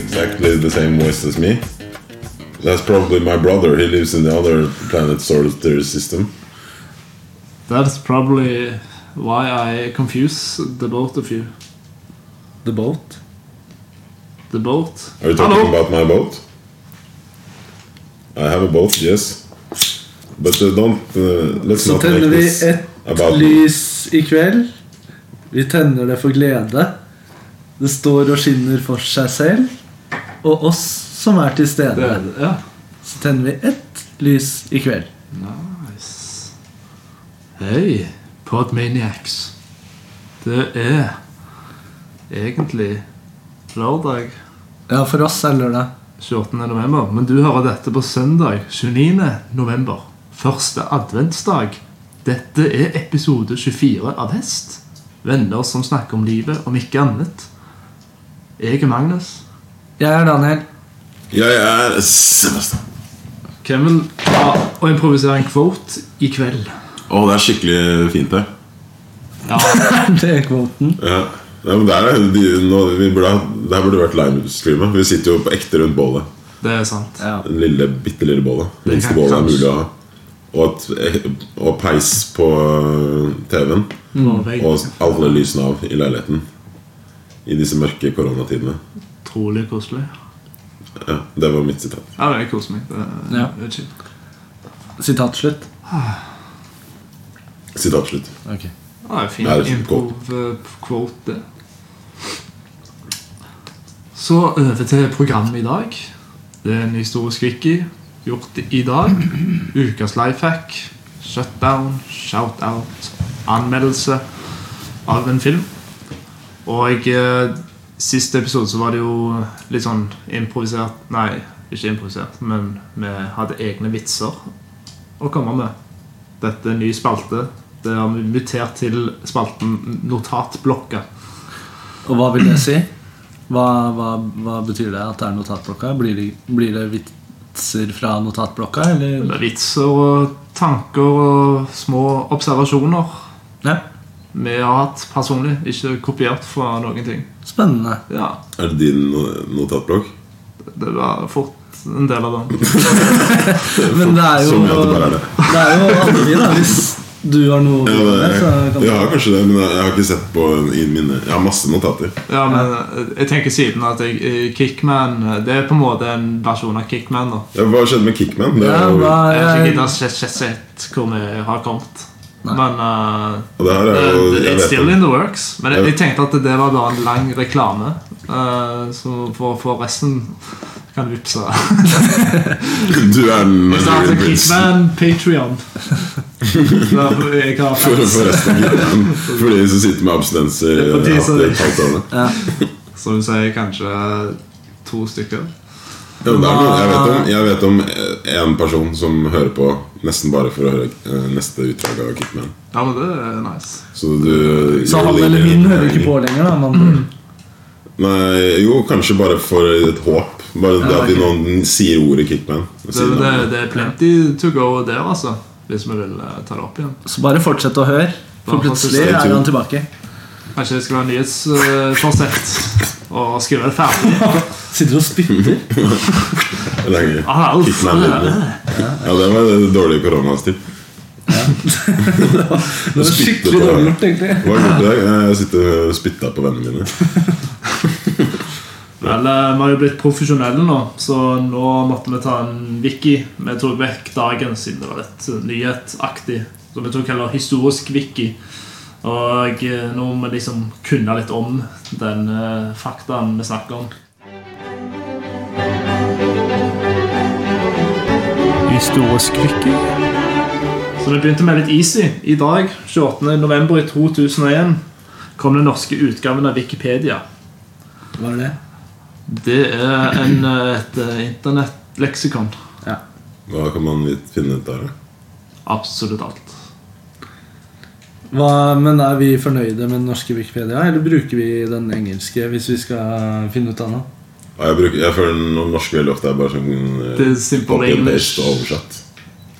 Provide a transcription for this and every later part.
exactly the same voice as me. That's probably my brother. He lives in the other planet solar system. That's probably why I confuse the both of you. The boat. The boat. Are you talking about my boat? I have a boat, yes. But uh, don't uh, let's Så not make tenner vi this about ett me. lys i kveld. Vi tenner det for glede. Det står og skinner for seg selv og oss som er til Det stede. er det, ja. Så tenner vi ett lys i kveld. Nice. Hei, Podmaniacs. Det er egentlig lørdag Ja, for oss er lørdag. 28. november, men du hører dette på søndag 29. november. Første adventsdag. Dette er episode 24 av Hest. Venner som snakker om livet, om ikke annet. Jeg er Magnus. Jeg er Daniel. Jeg er Sebastian. Kevin ja, og improvisere en quote i kveld. Å, det er skikkelig fint her. Ja, Det er kvoten. Ja. Ja, men der er jo de, nå, vi burde, ha- det her burde vært livestreama. Vi sitter jo på ekte rundt bålet. det er sant. Ja. Den lille, bitte lille bålet. Det Minste kan- bålet er kanskje. mulig å ha. Og, et, og peis på øh, TV-en. Og alle lysene av i leiligheten. I disse mørke koronatidene. Utrolig koselig. Ja, det var mitt sitat. Ja, det er koselig. Det er, Ja. det er chill. Sitat slutt. Sitat slutt. Ok. Ja, det er fin Ja, det er improv-quote. Så over til programmet i dag. Det er en historisk wiki gjort i dag. Ukas lifehack, shutdown, shoutout, anmeldelse av en film. Og eh, siste episode så var det jo litt sånn improvisert Nei, ikke improvisert, men vi hadde egne vitser å komme med. Dette er en ny spalte. Det har vi mutert til spalten Notatblokka. Og hva vil det si? Hva, hva, hva betyr det at det er notatblokka? Blir det, blir det vitser fra notatblokka, eller? Det er vitser og tanker og små observasjoner Ja. vi har hatt personlig. Ikke kopiert fra noen ting. Spennende. Ja, Er det din no- notatblokk? det var fort en del av den. Men det er jo Som i sånn at det bare er det. Det er jo aldri da Hvis du har noe Ja, å men bidra med, jeg, så kan jeg har kanskje det, men jeg har ikke sett på i mine Jeg har masse notater. Ja, men eh, jeg tenker siden at jeg, eh, Kickman eh, Det er på en måte en versjon av Kickman. da Ja, hva skjedde med Kickman? Det, ja, er jo- hva, Jeg har ikke jeg, helt sett, sett, sett hvor vi har kommet. Nei. Men eh, og det her er jo Eh, jeg It's vet still det. in the works. Men jeg, Ja. jeg tenkte at det var bare en lang reklame. eh, så for, for resten kan du vippse. Du er den Starte Norwegian prinsen. Kickman Patrion. Jeg kan ha For, fans, for resten av Kickman. For de som sitter med abstinenser. Det er for de ja, som- det er et halvt år, da. som du sier, kanskje to stykker. Ja, men det er noe- jeg vet om- Jeg vet om eh, en person som hører på nesten bare for å høre eh, neste utdrag av Kickman. Ja, men det er nice. Så du Så han eller min hører ikke på lenger, da. Mm. Man, Nei, jo, kanskje bare for et håp. Bare det at de noen sier ordet Kickman. Det, Siden det, av- det er plenty to go der, altså. Hvis vi vil eh, ta det opp igjen. så bare fortsett å høre, for Bare plutselig fortsett. er han tilbake. Kanskje det skal være nyhetsforsett og skrive det ferdig. Sitter og spytter. det er gøy. Ah, alt. Kickman-lydene. Ja, det var det dårlige koronastil. Det spytter var skikkelig på deg. dårlig gjort, egentlig. Hva har du gjort i dag? Eh, Jeg sitter og spytta på vennene mine. Vel, eh, Vi har jo blitt profesjonelle nå, så nå måtte vi ta en wiki. Vi tok vekk dagen siden det var litt nyhetaktig. Så vi tok heller historisk wiki. Og eh, nå må vi liksom kunne litt om den eh, faktaen vi snakker om. Historisk wiki. Så vi begynte med litt easy. I dag, 28. november i 2001, kom den norske utgaven av Wikipedia. Var det? Det er en, eh, et eh, internettleksikon. Hva kan man vit- finne ut der? da? Absolutt alt. Hva, men er vi fornøyde med den norske Wikipedia, eller bruker vi den engelske hvis vi skal finne ut av noe? Ja, Jeg, bruker, jeg føler noen norske veldig ofte er bare sånn eh, Det er simple copy and English. paste og oversatt.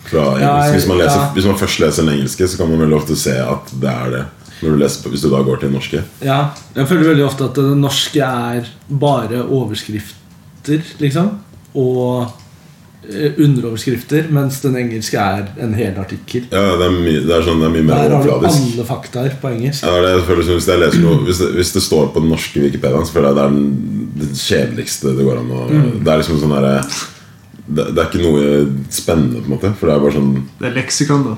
Fra engelsk. Ja, jeg- hvis, man leser, ja. hvis man først leser den engelske, så kan man veldig ofte se at det er det. Når du leser, på- hvis du da går til den norske. Ja, jeg føler veldig ofte at det norske er bare overskrifter, liksom. Og eh, underoverskrifter, mens den engelske er en hel artikkel. Ja, det er, mye- det er, sånn, det er mye mer Der har du overfladisk. alle faktaer på engelsk. Ja, det er det jeg føler som hvis, jeg leser noe, hvis, det, hvis det står på den norske Wikipediaen, så føler jeg det er den, det kjedeligste det går an å Mm. Det er liksom sånn derre det, det er ikke noe spennende, på en måte. For det er bare sånn Det er leksikon, da.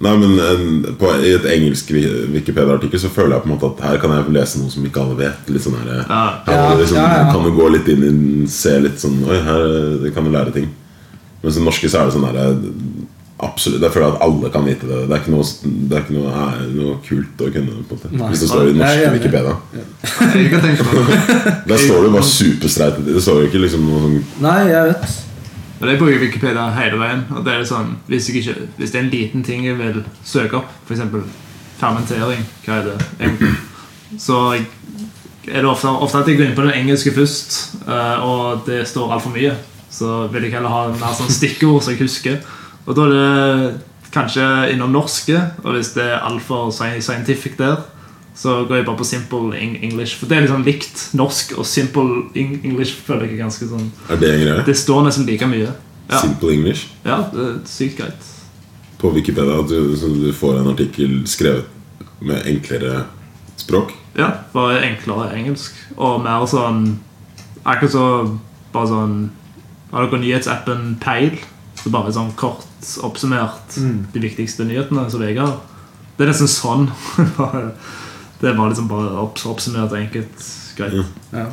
Nei, men en, på, I et engelsk Wi- Wikipedia-artikkel så føler jeg på en måte at her kan jeg lese noe som ikke alle vet. Litt sånn her, Ja. her Ja, liksom, ja, ja. Kan du gå litt inn i den, se litt sånn Oi, her eh, kan du lære ting. Mens i den norske så er det sånn her Absolutt, Jeg føler at alle kan vite det. Det er ikke noe, det er ikke noe, er noe kult å kunne. på en måte Nei. Hvis det står i den Jeg er norske enig. Wikipedia. Jeg kan tenke meg det. Der står det jo bare superstreit. Det står jo ikke liksom noe sånn Nei, jeg vet. Men jeg bruker Wikipedia hele veien. Og det er sånn, hvis, jeg ikke, hvis det er en liten ting jeg vil søke opp, f.eks. fermentering Hva er det egentlig? Så jeg- er det ofte, ofte at jeg går inn på den engelske først, eh, og det står altfor mye. Så vil jeg heller ha mer sånn stikkord som jeg husker. Og da er det kanskje innom norske, og hvis det er altfor sci- scientific der, så går jeg bare på simple eng- English. For det er liksom likt norsk, og simple eng- English føler jeg er ganske sånn Er det en greie? det står nesten like mye. Ja, Simple English ja det er sykt greit. på Wikipedia. At du, så du får en artikkel skrevet med enklere språk. Ja, Bare enklere engelsk. Og mer sånn Akkurat så bare sånn Har dere nyhetsappen Peil? Så bare sånn kort oppsummert de viktigste nyhetene som VG har. Det er nesten sånn. Bare- det er bare liksom bare opps oppsummert og enkelt. Greit. Ja.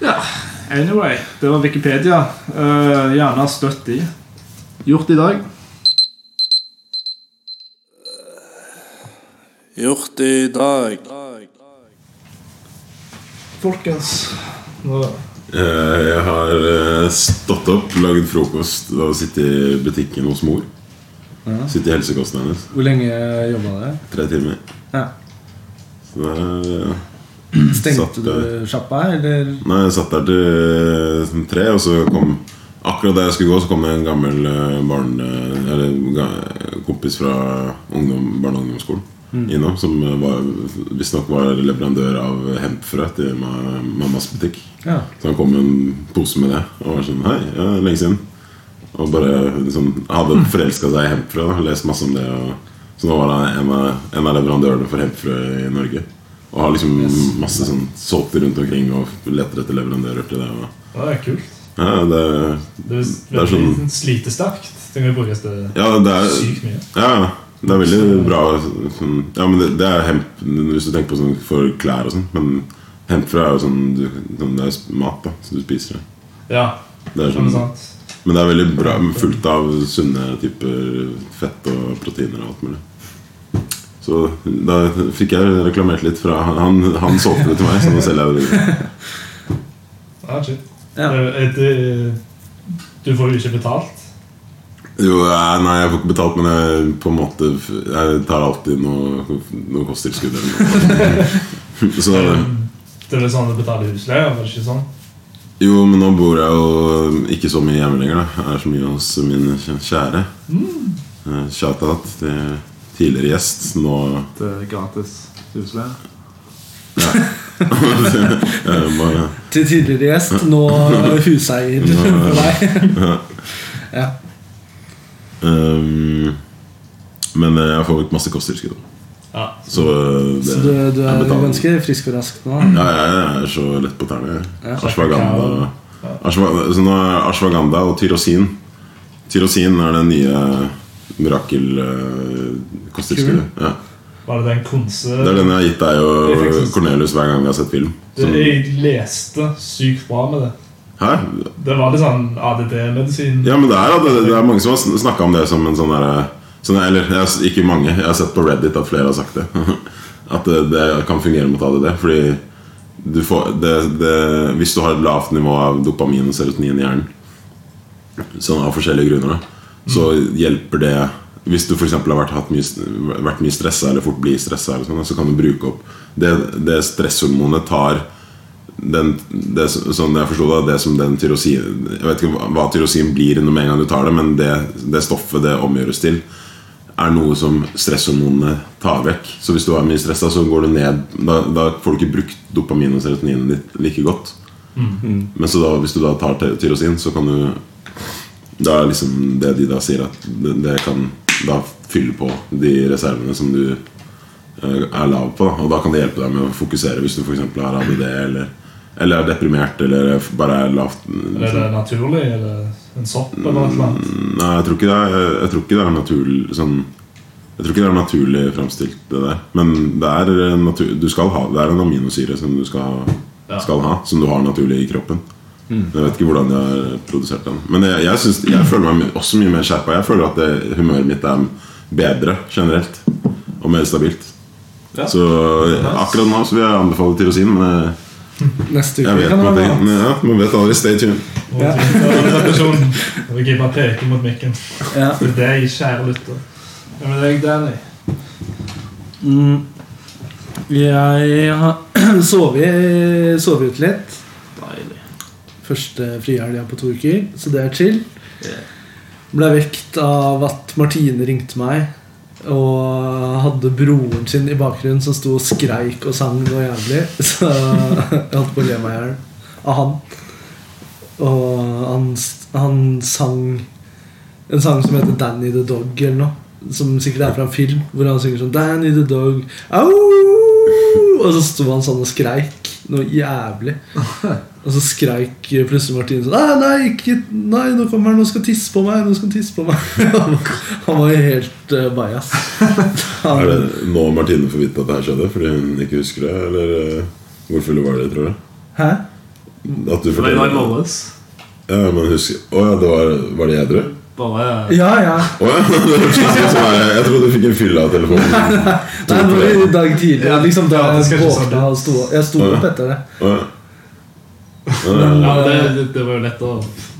Ja, anyway. Det var Wikipedia. Eh, gjerne støtt i. Gjort i dag. Gjort i dag. Folkens. Nå Eh, Jeg har eh, stått opp, lagd frokost og sittet i butikken hos mor. Ja. Sittet i helsekosten hennes. Hvor lenge jobba dere? Tre timer. Ja. Så da, Satt, Stengte du sjappa, eller? nei, jeg satt der til eh, sånn tre, og så kom Akkurat da jeg skulle gå, så kom det en gammel eh, barn, eh, eller, ga- kompis fra ungdom, barne- og ungdomsskolen innom, som eh, var- visstnok var leverandør av hempfrø til ma- mammas butikk. Ja. Så han kom med en pose med det og var sånn Hei, ja, lenge siden. Og bare liksom, hadde forelska seg i hempfrø. da, Lest masse om det. Og, så nå var han en av, en av leverandørene for hempfrø i Norge. Og har liksom masse sånn solgte rundt omkring og leter etter leverandører til det. Og, Ja, det er kult. ja, det, Det er Det er veldig sånn- sånn... slitesterkt. Det kan jo brukes til ja, det er sykt mye. ja, ja, det er veldig bra sånn, Ja, men det, det er hemp Hvis du tenker på sånn for klær og sånn, men hempfrø er jo sånn, du, sånn Det er mat, da, så du spiser det. Ja, Det er det er sånn sant. Men det er veldig bra fullt av sunne typer fett og proteiner og alt mulig. Så da fikk jeg reklamert litt fra Han, han solgte det til meg, så nå selger jeg det. Ja, shit. Ja. Det, det, du får jo ikke betalt. Jo, eh, nei, jeg får ikke betalt, men jeg på en måte Jeg tar alltid noe, noe kosttilskudd eller noe. Så Det er vel sånn at du betaler husleie, var det ikke sånn? jo, men nå bor jeg jo ikke så mye hjemme lenger. da Jeg er så mye hos min kjære. Eh, Shout-out til tidligere gjest. Nå Det er gratis husleie. eh, bare Til tidligere gjest, nå huseier for deg. Ja. Ehm, men eh, jeg får ut masse kosttilskudd. da. Ja. Så eh, det Så du, du jeg er betaler. ganske frisk og rask nå? Ja, ja, ja, jeg er så lett på tærne. Ja. jeg. Ashwagandha Ashwa- Så nå er ashwagandha og tyrosin. Tyrosin er det nye mirakel-kosttilskuddet. Ja. Var det den konse... Det er den jeg har gitt deg Det er og faktisk- Cornelius hver gang vi har sett film. Det, Som, jeg leste sykt bra med det. hæ? Det var litt sånn ADD-medisin. Ja, men det er, det, det er mange som har snakka om det som en sånn derre sånn, Eller jeg, har- ikke mange. Jeg har sett på Reddit at flere har sagt det. At det, det kan fungere mot ADD. Fordi du får, det, det, hvis du har et lavt nivå av dopamin og serotonin i hjernen, sånn av forskjellige grunner, da, så hjelper det hvis du for eksempel har vært, hatt mye, vært mye stressa eller fort blir stressa, eller sånn, så kan du bruke opp Det, det stresshormonet tar den, det, som- sånn jeg forstod det, det som den tyrosin Jeg vet ikke hva- hva tyrosin blir når med en gang du tar det, men det, det stoffet det omgjøres til, er noe som stresshormonene tar vekk. Så hvis du er mye stressa, så går du ned da, da får du ikke brukt dopamin og serotoninet ditt like godt. Men så da, hvis du da tar ty- tyrosin, så kan du da er liksom det de da sier at det, det kan da fylle på de reservene som du eh, er lav på. da. Og da kan det hjelpe deg med å fokusere hvis du f.eks. har ADD eller, eller er deprimert eller f- bare er lavt Er det naturlig? Er det en sopp eller noe Mm. annet? Nei, jeg tror ikke det er, jeg tror ikke det er naturlig sånn jeg tror ikke det er naturlig fremstilt, det der. Men det er, eh, natur, du skal ha, det er en aminosyre som du skal, Ja. skal ha, som du har naturlig i kroppen. Mm. Jeg vet ikke hvordan de har produsert den. Men jeg, jeg, syns- jeg føler meg my- også mye mer skjerpa. Jeg føler at det, humøret mitt er bedre generelt. Og mer stabilt. Ja. Så eh, akkurat nå så vil jeg anbefale tyrosin, men jeg, Neste jeg uke vet kan på det at det, være noe. ja, man vet aldri. Stay tuned. Og repetisjon. Jeg vil ikke bare peke mot mikken. Ja. Det er deg, kjære lytter. Hva med deg, Danny? Mm. Jeg har sovet, sovet ut litt. Deilig. Første frihelg jeg har på to uker, så det er chill. Yeah. Ble vekt av at Martine ringte meg og hadde broren sin i bakgrunnen som sto og skreik og sang noe jævlig. Så jeg holdt på å le meg i hjel av han. Og han, han sang en sang som heter 'Danny the Dog' eller noe. Som sikkert er fra en film hvor han synger sånn 'Danny the Dog'. Au! Og så sto han sånn og skreik noe jævlig. Og så skreik plutselig Martine sånn Nei, nei, ikke, nei nå kommer han og skal tisse på meg! Nå skal han tisse på meg Han var jo helt uh, bajas. Er Han, det nå Martine får vite at det her skjedde fordi hun ikke husker det? Eller eh, hvor full var det, tror du? Hæ? At du Det var i dag forteller morges. Ja, men husker Å ja, det var, var det edru? Bare Ja, ja. Å ja! det hørtes ut som jeg, jeg trodde du fikk en fylle av telefonen. Nei, det var i dag tidlig. Ja, Liksom da ja, det skal jeg ikke sånn. våkna og sto Jeg sto opp etter det. Å, ja. Ja, det, Eh, det, det var jo lett å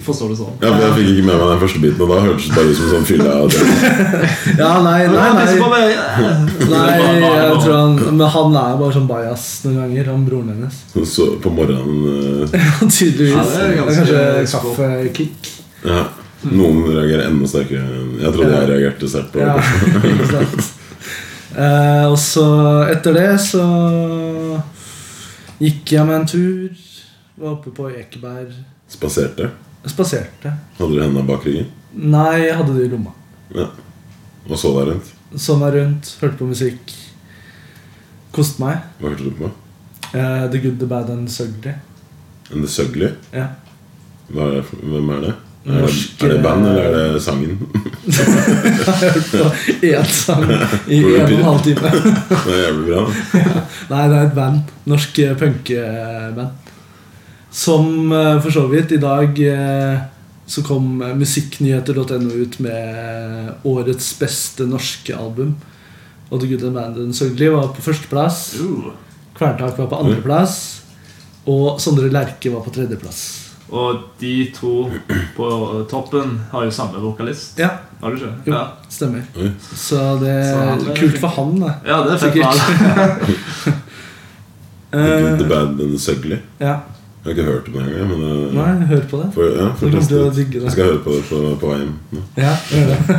forstå det sånn. Ja, for Jeg fikk ikke med meg den første biten, og da hørtes det bare ut som en sånn fylle av telefonen. Ja, nei, nei, nei. Nei, jeg tror han Men han er bare sånn bajas noen ganger, han broren hennes. Hun Så på morgenen eh, Tydeligvis. Ja, det er ganske kanskje skåp. kaffekick. ja. Noen reagerer enda sterkere. enn- Jeg trodde jeg reagerte sterkt på Ja, det. ikke sant. Eh, og så etter det så gikk jeg med en tur. Var oppe på Ekeberg. Spaserte. Spaserte. Hadde du hendene bak ryggen Nei, jeg hadde det i lomma. og så deg rundt? Så meg rundt, hørte på musikk. Koste meg. Hva hørte du på? Eh, the Good, The Bad and The Ugly. En Søgli? Ja. Hva er det for- Hvem er det? Er det, Norske- er det band, eller er det sangen? Jeg hørte på én sang i en og en halv time. Det er jævlig bra. Nei, det er et band. Norsk eh, punkeband. Som eh, for så vidt I dag eh, så kom eh, musikknyheter.no ut med eh, årets beste norske album. Og The Good and Band and Sørgelig var på førsteplass. Uh, Kverntak var på andreplass. Og Sondre Lerche var på tredjeplass. Og de to på toppen har jo samme vokalist. Ja, Har du ikke? Jo. Ja. stemmer. Oi. Så det Så han er er kult flink. for han, da. ja, det er fett. Sikkert. for alle. The Good, The Eh, Bad and The Sugly. ja. Jeg har ikke hørt om det engang. Men eh, Nei, hør på det. for, ja, Du for kommer til å testen. digge det. Jeg skal høre på det på, på vei hjem. nå. Ja, gjør det.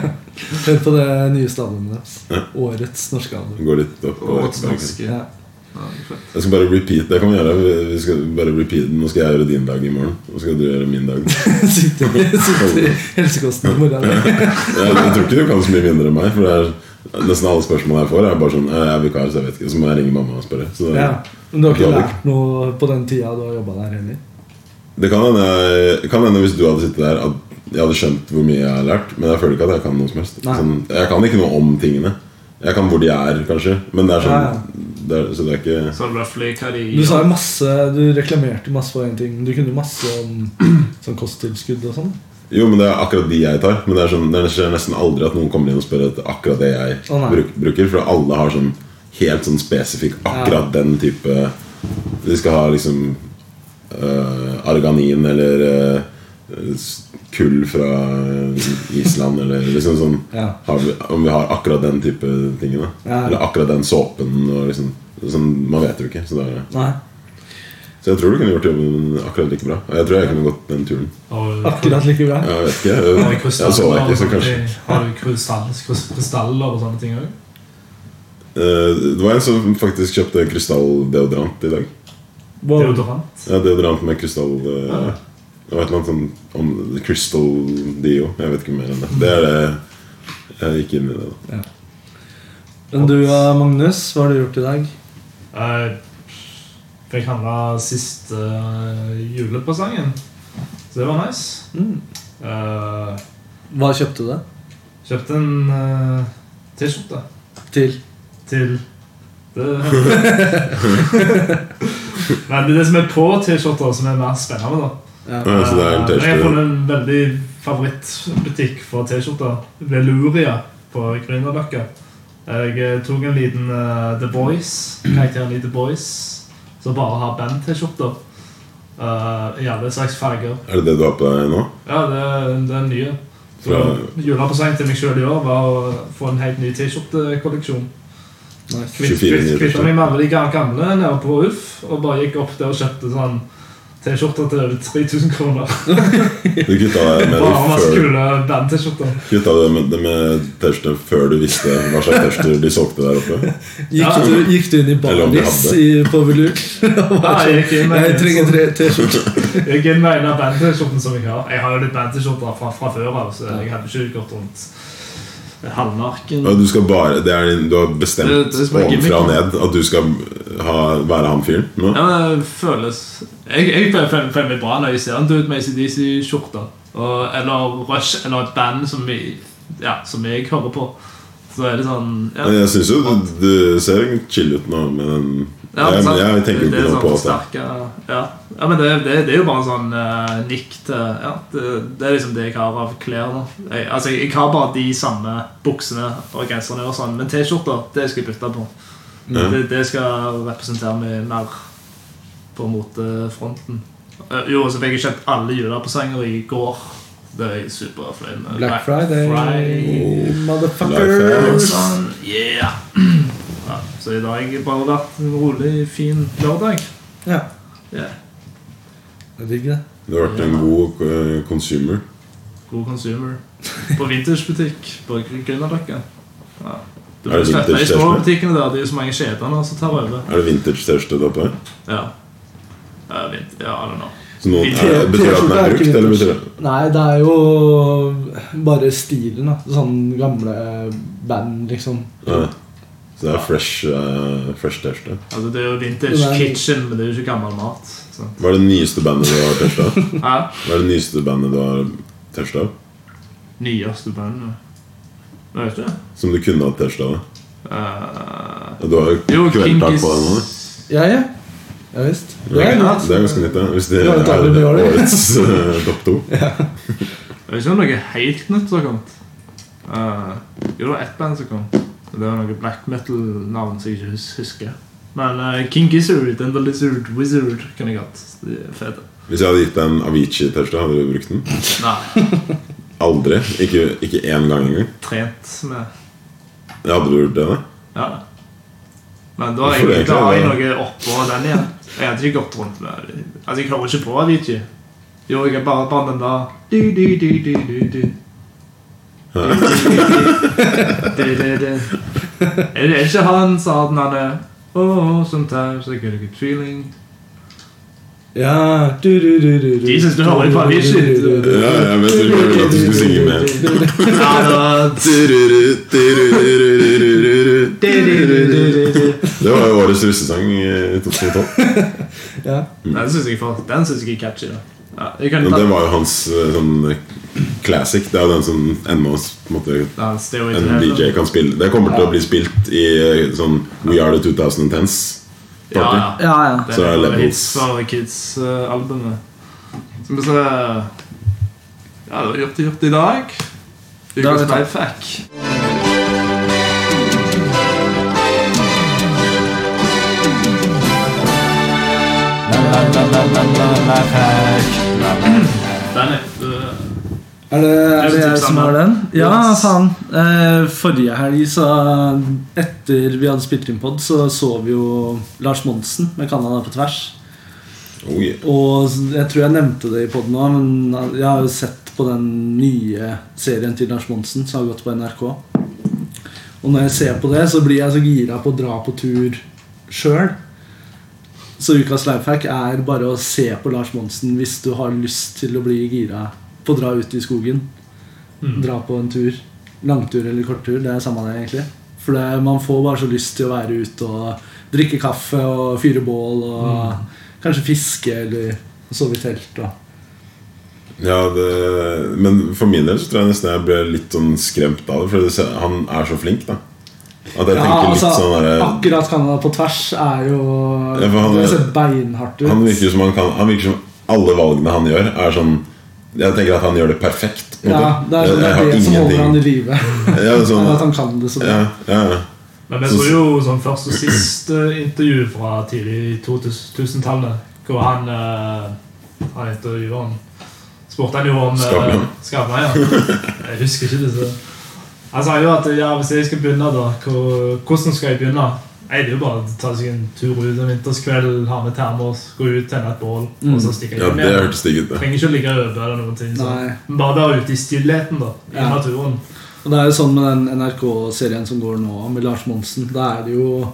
Hør på det nyeste albumet deres. Årets norske album. Gå litt opp. Og og- åt norske. Ja. Ja, det er fett. Jeg skal bare repeat. Det kan vi gjøre. Vi- Vi skal bare repeat. Nå skal jeg gjøre din dag i morgen. Og så skal du gjøre min dag. Sitter sitter i helsekosten i morgen. Jeg, jeg tror ikke du kan så mye mindre enn meg. For det er Nesten alle spørsmål jeg får, er bare sånn eh, Jeg er vikar, så jeg vet ikke. Så må jeg ringe mamma og spørre. Så det, Ja. Men du har ikke lært noe på den tida du har jobba der heller? det kan hende jeg- kan hende hvis du hadde sittet der, at jeg hadde skjønt hvor mye jeg har lært. Men jeg føler ikke at jeg kan noe som helst. Nei. Sånn, jeg kan ikke noe om tingene. Jeg kan hvor de er, kanskje. Men det er sånn Ja, ja. det er, Så det er ikke Så er det roughly hva de Du sa jo masse, du reklamerte masse for én ting. men Du kunne jo masse om sånn kosttilskudd og sånn. Jo, men det er akkurat de jeg tar. Men det, er sånn, det skjer nesten aldri at noen kommer inn og spør etter akkurat det jeg Å, nei. bruk, bruker. For alle har sånn helt sånn spesifikk akkurat den type De skal ha liksom øh, arganin eh, eller øh, eh, s- kull fra Island, eller liksom sånn Ja. har vi, Om vi har akkurat den type ting. Da. Ja. Eller akkurat den såpen. Og liksom, sånn, man vet jo ikke. Så, da, Nei. så jeg tror du kunne gjort jobben akkurat like bra. Og Jeg tror jeg kunne gått den turen. Og- Akkurat like bra. Jeg vet ikke. Jeg, Har du jeg så deg ikke, så kanskje krystaller, har du krystall, krystaller og sånne ting òg? Eh, Det var en som faktisk kjøpte krystalldeodorant i dag. Wow. Ja, deodorant med krystall eh, Ja. Det var et eller annet sånn om Crystal Dio. Jeg vet ikke mer enn det. Det er det jeg gikk inn i det. da Men du, eh, Magnus, hva har du gjort i dag? Jeg Eh, fikk handla siste eh, julepresangen, så det var nice. Mm. Eh, Hva kjøpte du deg? kjøpte en eh, T-skjorte Til? til det. Men det er det som er på T-skjorter, som er mer spennende. da Ja. Ja, så det er en Eh, Jeg har T-skjorte. funnet en veldig favorittbutikk for T-skjorter. Veluria på Grünerløkka. Jeg eh, tok en liten eh, The Boys, karakteren i The Boys, som bare har band-T-skjorter. eh, I alle slags farger. Er det det du har på deg nå? Ja, det, er- det er nye. Så Fra- Julepresang til meg sjøl i år var å få en helt ny T-skjortekolleksjon. Nice. 24 nye Kvitt- kvitt- Kvittet T-skjorter. meg med alle de gamle nede på Uff, og bare gikk opp der og kjøpte sånn T-skjorter til over 3000 kroner. Du kutta deg med Bare det masse før, kule band-T-skjorter. kutta deg med, det med T-skjorte før du visste hva slags T-skjorter de solgte der oppe? Gikk, Ja. du, gikk du inn i Eller om de Baris hadde. i- på Velur? Og Nei, bare jeg gikk inn sånn, med Jeg trenger sånn- tre T-skjorter. jeg gikk inn med en av band-T-skjortene som jeg har. Jeg har jo litt band-T-skjorter fra, fra før av, så jeg hadde ikke gått rundt halvnaken. Ja, du, skal bare, det er, din- du har bestemt Det- det som er ovenfra og gimmick, ned at du skal ha, være han fyren nå? Ja, men det føles Jeg, jeg føler, føler, føler meg bra når jeg ser en dude med ACDC-skjorte. Eller Rush, eller et band som, vi, ja, som jeg hører på. Så er det sånn ja. Jeg syns jo du, du ser chill ut nå med den Ja, jeg, sant? jeg tenker jo ikke Det noe er sånn på det. forsterke- ja. ja, men det, det, det er jo bare en sånn eh, nikk til ja, det, det er liksom det jeg har av klær nå. Jeg, altså, jeg, jeg har bare de samme buksene og genserne og sånn, men T-skjorter, det skal jeg bytte på. Ja. Det, det skal representere meg mer på motefronten. Eh, Jo, og så fikk jeg kjøpt alle julepresanger i går. Det er jeg superfornøyd med. Black Friday, Black motherfuckers. Sånn, yeah. ja, så i dag har jeg bare vært en rolig, fin lørdag. Ja, Yeah. jeg digger det. Du har vært en god eh, consumer. God consumer. På vintagebutikk på Grünerløkka. Ja. Du Er det blir sletta i vintage små T-skjorte? butikkene der. Det er jo så mange kjeder nå som tar over. Er det vintage T-skjorte du har på deg? Ja. Ja, vint- ja, I don't know. Så noen, Vintage- er, betyr det at den T-skjorte er er ikke brukt, eller vintage. betyr det Nei, det er jo bare stilen, da. Sånn gamle band, liksom. Nei. Så det er fresh eh, fresh T-skjorte. Altså, det er jo vintage Nei. kitchen, men det er jo ikke gammel mat. Så. Hva er det nyeste bandet du har T-skjorte av? Ja. Hva er det nyeste bandet du har T-skjorte av? Nyeste bandet. Jeg vet ikke. Som du kunne hatt T-skjorte av? Eh, Ja, Du har jo jo, kveldtak på deg nå. da. Kinkis Ja, ja. Ja visst. Det er Ja, nytt. Det er ganske nytt, ja. Hvis det Det var et er dårlig år, det. årets eh, topp to. Jeg vet ikke om noe helt nytt som har kommet. Eh, jo, det var ett band som kom. Det var noe black metal-navn som jeg ikke hus husker. Men eh, King Gizzard and The Lizard Wizard kan jeg godt. De er fete. Hvis jeg hadde gitt deg en Avicii-T-skjorte, hadde du brukt den? Nei, Aldri. Ikke, ikke én gang engang. trent med Ja, Hadde du gjort det? da? Ja. Men da har Hvorfor jeg, det da har jeg egentlig, noe oppå den igjen. Jeg hadde ikke gått rundt med Altså, jeg hører ikke på Avicii. Jo, jeg er bare på den der du, du, du, du, du, du. Du, du, du, du, du, du. Er det ikke han sa at han hadde Oh, sometimes I get a good feeling Ja du, du, du, du, du. Jesus, du hører jo på Avicii. Ja, jeg vet ikke om jeg ville at du skulle synge med. Ja, det var Det var jo årets russesang i 2012. Ja. Den syns jeg, for- den synes jeg er catchy. da. Ja, jeg kan Men ta det var jo hans eh, sånn eh, classic. Det er jo den som ennå på en måte, ja, Stairway to en Heaven. DJ kan spille. Det kommer til å bli spilt i eh, sånn We Are The 2010s. Ja, ja. ja, ja. Det Så er er Levels. bare hits for Kids-albumet. Som vi ser Ja, det var gjort og gjort i dag. er Ukas det takk. lifehack. Den er Er det, er det jeg tipset som meg. har den? Ja, Yes. faen. Eh, forrige helg, så etter vi hadde spilt inn pod, så så vi jo Lars Monsen med Canada på tvers. Oh, yeah. Og jeg tror jeg nevnte det i poden òg, men jeg har jo sett på den nye serien til Lars Monsen som har gått på NRK. Og når jeg ser på det, så blir jeg så gira på å dra på tur sjøl. Så ukas lifehack er bare å se på Lars Monsen hvis du har lyst til å bli gira på å dra ut i skogen. Dra på en tur. Langtur eller korttur. Det er samme det, egentlig. For det, man får bare så lyst til å være ute og drikke kaffe og fyre bål og kanskje fiske eller sove i telt. Da. Ja, det, men for min del så tror jeg nesten jeg ble litt sånn skremt av det. For det, ser- han er så flink, da. At jeg Ja, tenker altså, litt sånn der, akkurat Canada på tvers er jo Ja, for han- eh, Det ser beinhardt ut. Han virker som han kan Han virker som alle valgene han gjør, er sånn Jeg tenker at han gjør det perfekt. på en ja, måte. det er sånn, det, jeg, er det jeg som har holder han i ingenting live. ja, sånn, At han kan det så bra. ja, ja, ja. Men jeg så jo sånn først og sist eh, intervju fra tidlig 2000-tallet, hvor han eh, Han intervjueren spurte han jo om eh, Skavlan. Skavlan, ja. Jeg husker ikke det. så Han sa jo at ja, hvis jeg skal begynne, da, hvor- hvordan skal jeg begynne? Jeg vil jo bare å ta seg en tur ut en vinterskveld, ha med termos, gå ut, tenne et bål, og så stikke ja, hjem det igjen. hørtes digg ut. det. Trenger ikke å ligge over eller noen ting. Så. Mm. Nei. Men Bare være ute i stillheten, da. I Ja. naturen. Og det er jo sånn med den NRK-serien som går nå, med Lars Monsen. Da er det jo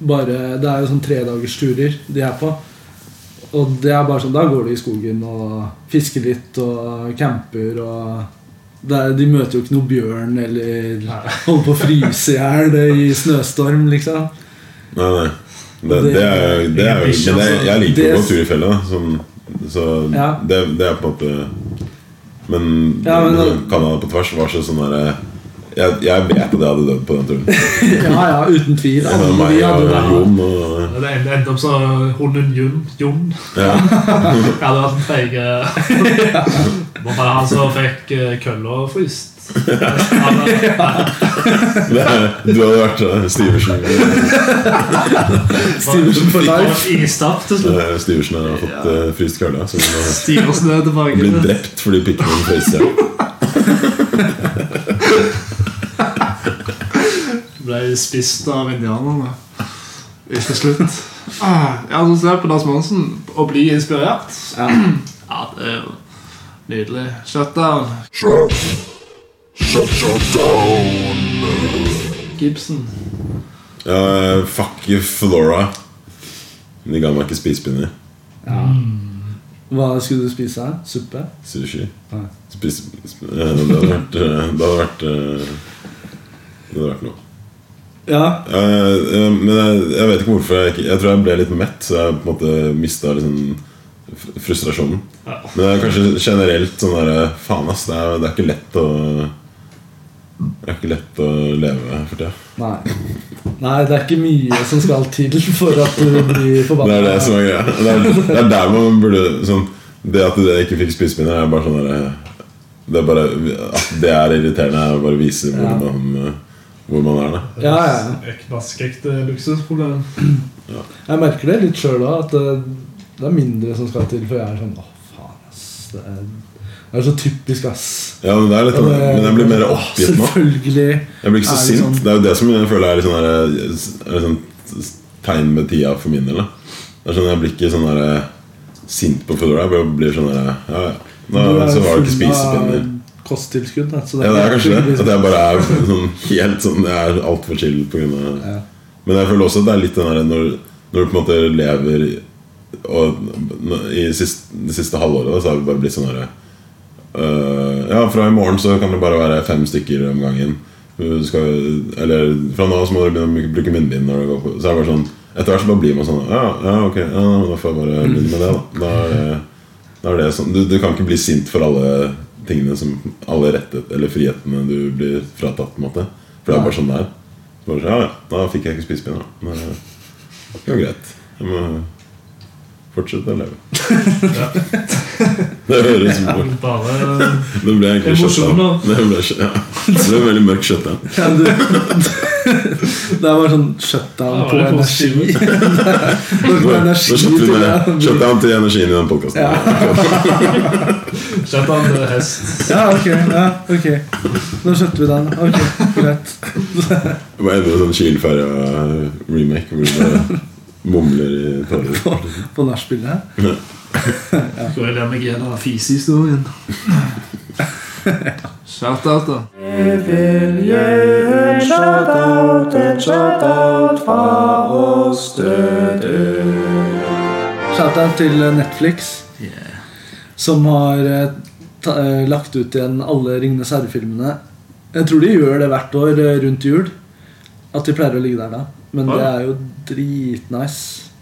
bare Det er jo sånn tredagersturer de er på. Og det er bare sånn, da går de i skogen og fisker litt og camper og det er, De møter jo ikke noe bjørn eller holder på å fryse i hjel i snøstorm, liksom. Nei, nei. Det, det er, det er, men jeg, jeg liker jo å gå tur i fjellet, da. Sånn, så altså. Ja. det, det er på en måte Men, Ja, men- Canada på tvers var så sånn derre jeg, jeg vet at jeg hadde dødd på den turen. Ja, ja, uten tvil. Det var Alle meg vi hadde og det. Jon og Ja, Det endte- endte opp så hunden Jon. Jon. Ja. Ja, det var den feige Det var bare han som fikk eh, kølla fryst. Han, eh, Det er, du hadde vært eh, Stiversen. Stevenson for fikk bare life. Istapp til slutt. Eh, Stiversen har fått eh, fryst kølla. Så hun har Stevenson er blitt tilbake. drept fordi pikken min frøs i hjel. Ble spist av indianerne i til slutt. Ah, Ja, så ser jeg på Lars Monsen å bli inspirert. Ja, det er jo nydelig. Shutdown. Gibson. Ja, eh, fuck you, Flora. De ga meg ikke spisepinner. Hva skulle du spise? Suppe? Sushi. Nei. Spis, sp eh, det hadde vært eh, Det hadde vært, eh, det hadde vært noe. Ja. Eh, eh, men jeg, jeg vet ikke hvorfor. Jeg, ikke- jeg tror jeg ble litt mett, så jeg på en måte mista liksom fr- frustrasjonen. Ja. Men det er kanskje generelt sånn derre Faen, ass. Det er, det er ikke lett å Det er ikke lett å leve for tida. Nei. Nei, det er ikke mye som skal til for at du Det blir forbanna. er det som er greia. Det er, det er der man burde sånn, Det at det ikke fikk spisepinner, er bare sånn derre Det er bare At det er irriterende, er bare å vise hvor, Ja. man, eh, hvor man er, da. Ja, ja. Ekte eh, luksusproblem. Jeg merker det litt sjøl òg, at det, det er mindre som skal til. For jeg er sånn Å, faen, ass. Det er, det er så typisk, ass. Ja, men, det er litt, Og sånn- det- men jeg blir mer oppgitt nå. Selvfølgelig. Jeg blir ikke så Er det sint. sånn- Det er jo det som jeg føler er litt sånn der, er litt sånn tegn med tida for min del. da. Det er sånn, Jeg blir ikke sånn der, sint på Foodora. Jeg bare blir sånn der, ja, ja. Nå, Du er Så var det ikke full av spisepinner. Kosttilskudd. da, Så Ja, det er kanskje det. typisk- At jeg bare er sånn, helt sånn Jeg er altfor chill på grunn av Ja. Men jeg føler også at det er litt den der når, når du på en måte lever i- og, n- I sist- det siste halvåret da, Så har vi bare blitt sånn der øh, Ja, fra i morgen så kan det bare være fem stykker om gangen Du skal, Eller fra nå så må dere begynne å bruke munnbind når dere går på Så er det bare sånn Etter hvert så bare blir man sånn Ja, ja ok, ja, da får jeg bare begynne med det da Da er det da er det sånn, du, du kan ikke bli sint for alle tingene som Alle rettet, eller frihetene du blir fratatt. på en måte For det er bare sånn det er. Så bare, sånn, ja, ja, da fikk jeg ikke spisepinner. da. Men eh, det var greit. Jeg må fortsette å leve. det høres bort. Bare Det ble egentlig Emosjoner. shutdown. Det ble, ja. det ble veldig mørkt shutdown. Ja, du, Det er bare sånn shutdown Ja, på det er energi. positivt. Det er på Nå energi skjøtter vi til ned det. shut down til energien i den podkasten. Ja. Kjente han eh, hest. Ja, ok. ja, ok Nå skjønte vi den. Ok, Greit. Hva er det sånn Kielferja-remake hvor det mumler i tårer? På, på nachspielet. Går jeg der meg igjen? Eller fisehistorien. Shout-out, da. Shoutout til Netflix, som har eh, ta, eh, lagt ut igjen alle Ringenes herre-filmene. Jeg tror de gjør det hvert år eh, rundt jul. At de pleier å ligge der da. Men Ja. det er jo dritnice.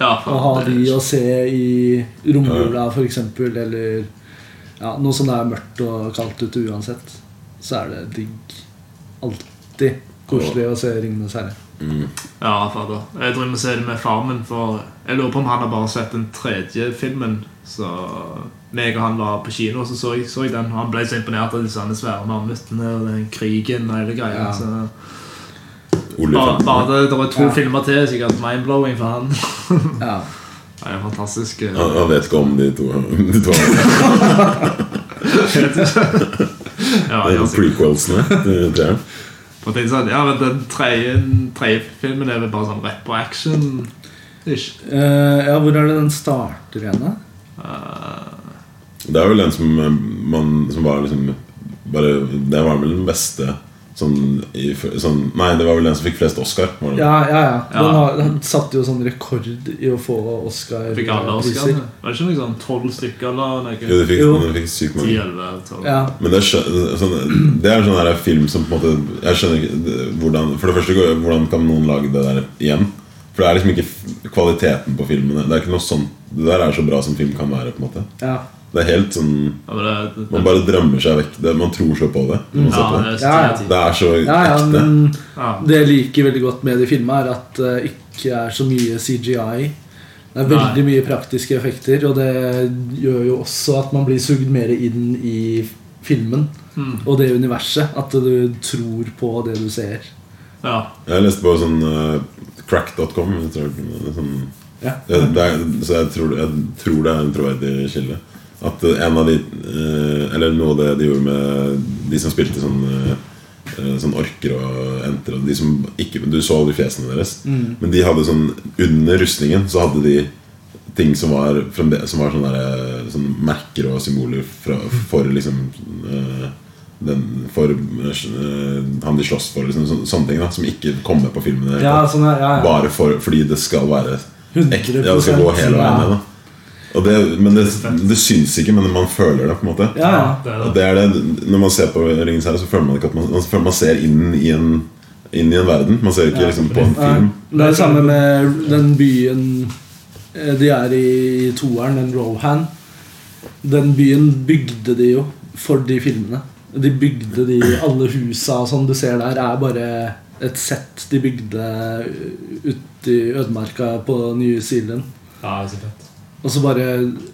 Ja, Å ha de å se i romjula, for eksempel eller ja, noe som er mørkt og kaldt ute uansett, så er det digg. Alltid koselig å se 'Ringenes herre'. Ja, fader. Jeg driver med å se det med faren min, for jeg lurer på om han har bare sett den tredje filmen. Så meg og han var på kino, så så jeg, så jeg den. og Han ble så imponert av de sånne svære marmuttene og den krigen og hele greia. Ja. Så bare, Olifanten. bare det, det var to Ja. filmer til, sikkert mind-blowing for han. Ja. Det er fantastisk. eh, Han han vet ikke om de to. De to Ja, de ja, sikkert. prequelsene til treeren. Og tenk sånn, ja, men Den tredje, den tredje filmen er vel bare sånn rett på action. Ish. Eh, ja, hvor er det den starter igjen, da? Eh, Det er vel den som, eh, man, som var liksom bare, Det var vel den beste sånn, i, sånn Nei, det var vel den som fikk flest Oscar. Var det? Ja, ja, ja. Den, Ja. har, den satte jo sånn rekord i å få fikk alle Oscar-priser. Oscarene? Var det ikke noe sånn tolv stykker? eller Jo, noe? det fikk, Jo. Den fikk sykt mange. 10, 11, 12. Ja. Men det er, skjø- sånn, det er en sånn her film som på en måte Jeg skjønner ikke det- hvordan For det første, hvordan kan noen lage det der igjen? For det er liksom ikke f- kvaliteten på filmene. Det er ikke noe sånn Det der er så bra som film kan være. på en måte Ja. Det er helt sånn Ja, men det, det, Man det, bare drømmer seg vekk. Det, man tror så på det. Når man ser på ja, det. det er Ja, ja. ti av ti. det er så ja, ja, ekte. men Ja. Det jeg liker veldig godt med de filmene, er at det ikke er så mye CGI. Det er veldig mye praktiske effekter, og det gjør jo også at man blir sugd mer inn i filmen Mm. og det universet. At du tror på det du ser. ja. Jeg leste på sånn eh, crack.com. jeg tror det er Sånn, Ja. det, det er, så jeg tror, jeg tror det er en troverdig kilde. At eh, en av de eh, Eller noe av det de gjorde med de som spilte sånn eh, eh, Sånn orker og enter og de som ikke, Du så aldri fjesene deres. Men de hadde sånn under rustningen så hadde de ting som var, fremde- som var sånne, der, eh, sånn merker og symboler fra, for liksom eh, den, For eh, han de slåss for. Liksom, sånne, sånne ting da som ikke kommer på filmene. Ja, sånn er, ja, ja. Bare for, fordi det skal være ekte. 100 Ja, det skal gå hele veien ja. ned. Da. Og det, men det, det syns ikke, men man føler det. på en måte Ja, ja. det Og er det. det er det, Når man ser på Ringens herre, så føler man ikke at man, man, føler man ser inn i en inn i en verden. Man ser ikke Ja, liksom på en film. Det er det samme med den byen eh, de er i i toeren, den Rohan. Den byen bygde de jo for de filmene. De bygde de alle husa og sånn du ser der, er bare et sett de bygde ute i ødemarka på New Zealand. Ja, det er så fett. Og så bare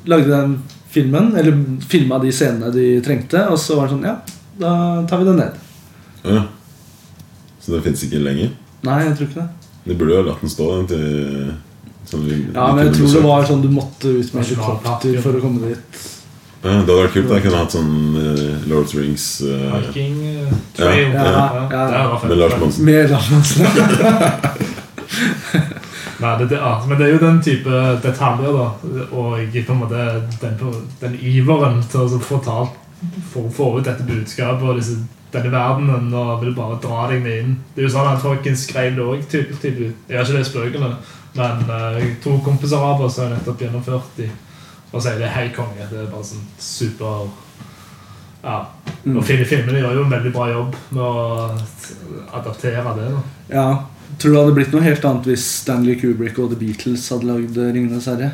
lagde de den filmen, eller filma de scenene de trengte, og så var det sånn Ja, da tar vi det ned. Ja. Så det fins ikke lenger. Nei, jeg tror ikke det. De burde jo ha latt den stå. Den, til, sånn vi, Ja, vi men jeg kunne tror det besøkt. var sånn du måtte ut med helikopter for å komme dit. ja, Det hadde vært kult. da. Jeg kunne hatt sånn eh, Lord of the Rings eh, Viking eh, Trail. Ja, ja, ja. Det var fett. med Lars Monsen. Med Lars Monsen. Nei, det, det, ja. Men det er jo den type detaljer, da. Og på en måte den, den iveren til å så fortalt, for å få ut dette budskapet og disse, denne verdenen og vil bare dra deg med inn. Det er jo sånn at Folkens skrev det òg. Jeg har ikke lest bøkene, men eh, to kompiser av oss har nettopp gjennomført de og sier det er helt konge. Det er bare sånn super Ja. Og fil- filmene gjør jo en veldig bra jobb med å adaptere det. da Ja. Tror du det hadde blitt noe helt annet hvis Stanley Kubrick og The Beatles hadde lagd 'Ringenes herre'?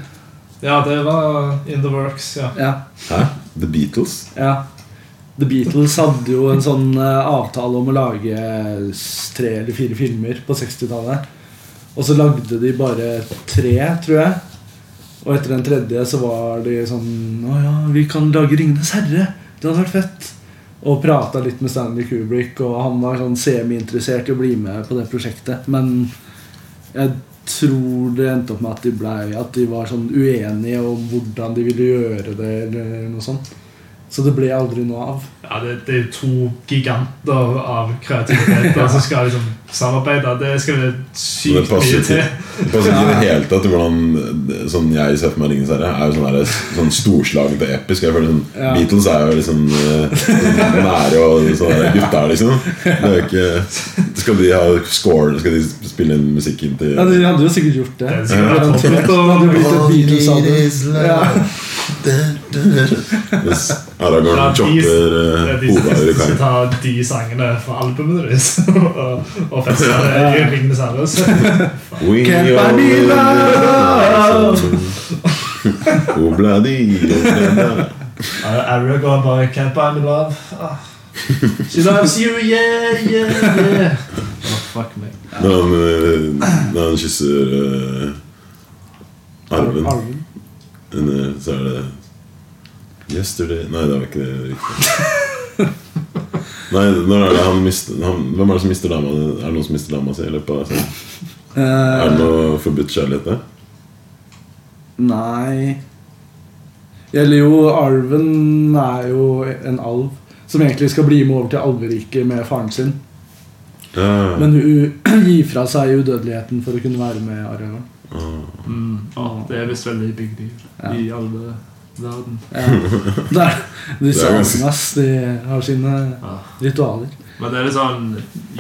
Ja, det var In the Works, ja. Ja, Hæ? The Beatles? ja. The Beatles hadde jo en sånn eh, avtale om å lage eh, s- tre eller fire filmer på 60-tallet. Og så lagde de bare tre, tror jeg. Og etter den tredje så var de sånn Å ja, vi kan lage 'Ringenes herre'. Det hadde vært fett. Og prata litt med Stanley Kubrick, og han var sånn semi-interessert i å bli med på det prosjektet. Men jeg tror det endte opp med at de, ble, at de var sånn uenige om hvordan de ville gjøre det. eller noe sånt Så det ble aldri noe av. Ja, det, det er jo to giganter av kreativitet da, som skal liksom samarbeide. Det skal det Men det sykt passer mye ikke. til. Det passer ikke i det hele tatt til hvordan Sånn jeg ser for meg Ringenes herre, er jo sånn, der, sånn storslagent og episk. Jeg føler sånn, Ja. Beatles er jo liksom eh, sånn nære og sånn der gutter, liksom. Det er jo ikke, skal de ha score Skal de spille inn musikk inn til Ja, De hadde jo sikkert gjort det. Det er det sikkert sånn hadde toppen, blitt- det og- hadde blitt et All you need is Beatles-album. love. Ja. Hvis Aragorn Ja, de- chopper Det er eh, de som hodet i skal kaien? ta de sangene fra albumet deres og, og feste det i Ringenes herre. så- We Can't are buy me love. some- Oh, bloody, oh, bloody. Aragorn bare Can't buy me love. Ah. She loves you, yeah, yeah, yeah. Oh, fuck meg. Når han, eh, når han kysser eh, arven Arven. Men eh, så er det Yesterday Nei, det var ikke det riktige. Nei, når er det han mister han, Hvem er det som mister dama? Er det noen som mister dama si? Eller på, altså, er det Eh, noe forbudt kjærlighet der? Nei Eller jo, arven er jo en alv som egentlig skal bli med over til alveriket med faren sin. Ja, Men hun gir fra seg udødeligheten for å kunne være med Aragorn. Mm. Å, det er visst veldig big deal Ja. i alle verden. Ja. Det er, Det disse er ganske- alvene, ass. De har sine Ja. ritualer. Men det er litt sånn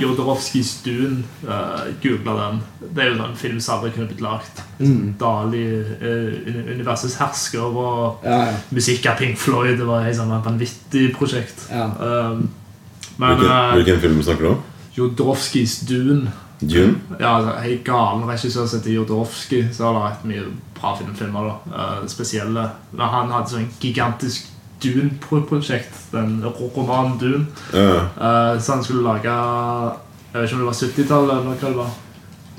Jodorowskis Dune, uh, eh, googla den. Det er jo sånn film som aldri kunne blitt lagd. Mm. Dali, eh, uni- universets hersker og Ja, ja. musikk av Pink Floyd. Det var et sånn vanvittig prosjekt. ja. Um, men hvilken, uh, hvilken film snakker du om? Jodorowskis Dune Dune? Ja, altså, helt galen regissør som heter Jodorowsky, som har laget mye bra filmfilmer. da Eh, Spesielle. Men han hadde sånn gigantisk Dune-prosjekt. Den romanen Dune. Ja, ja. Eh, så han skulle lage Jeg vet ikke om det var 70-tallet eller hva det var.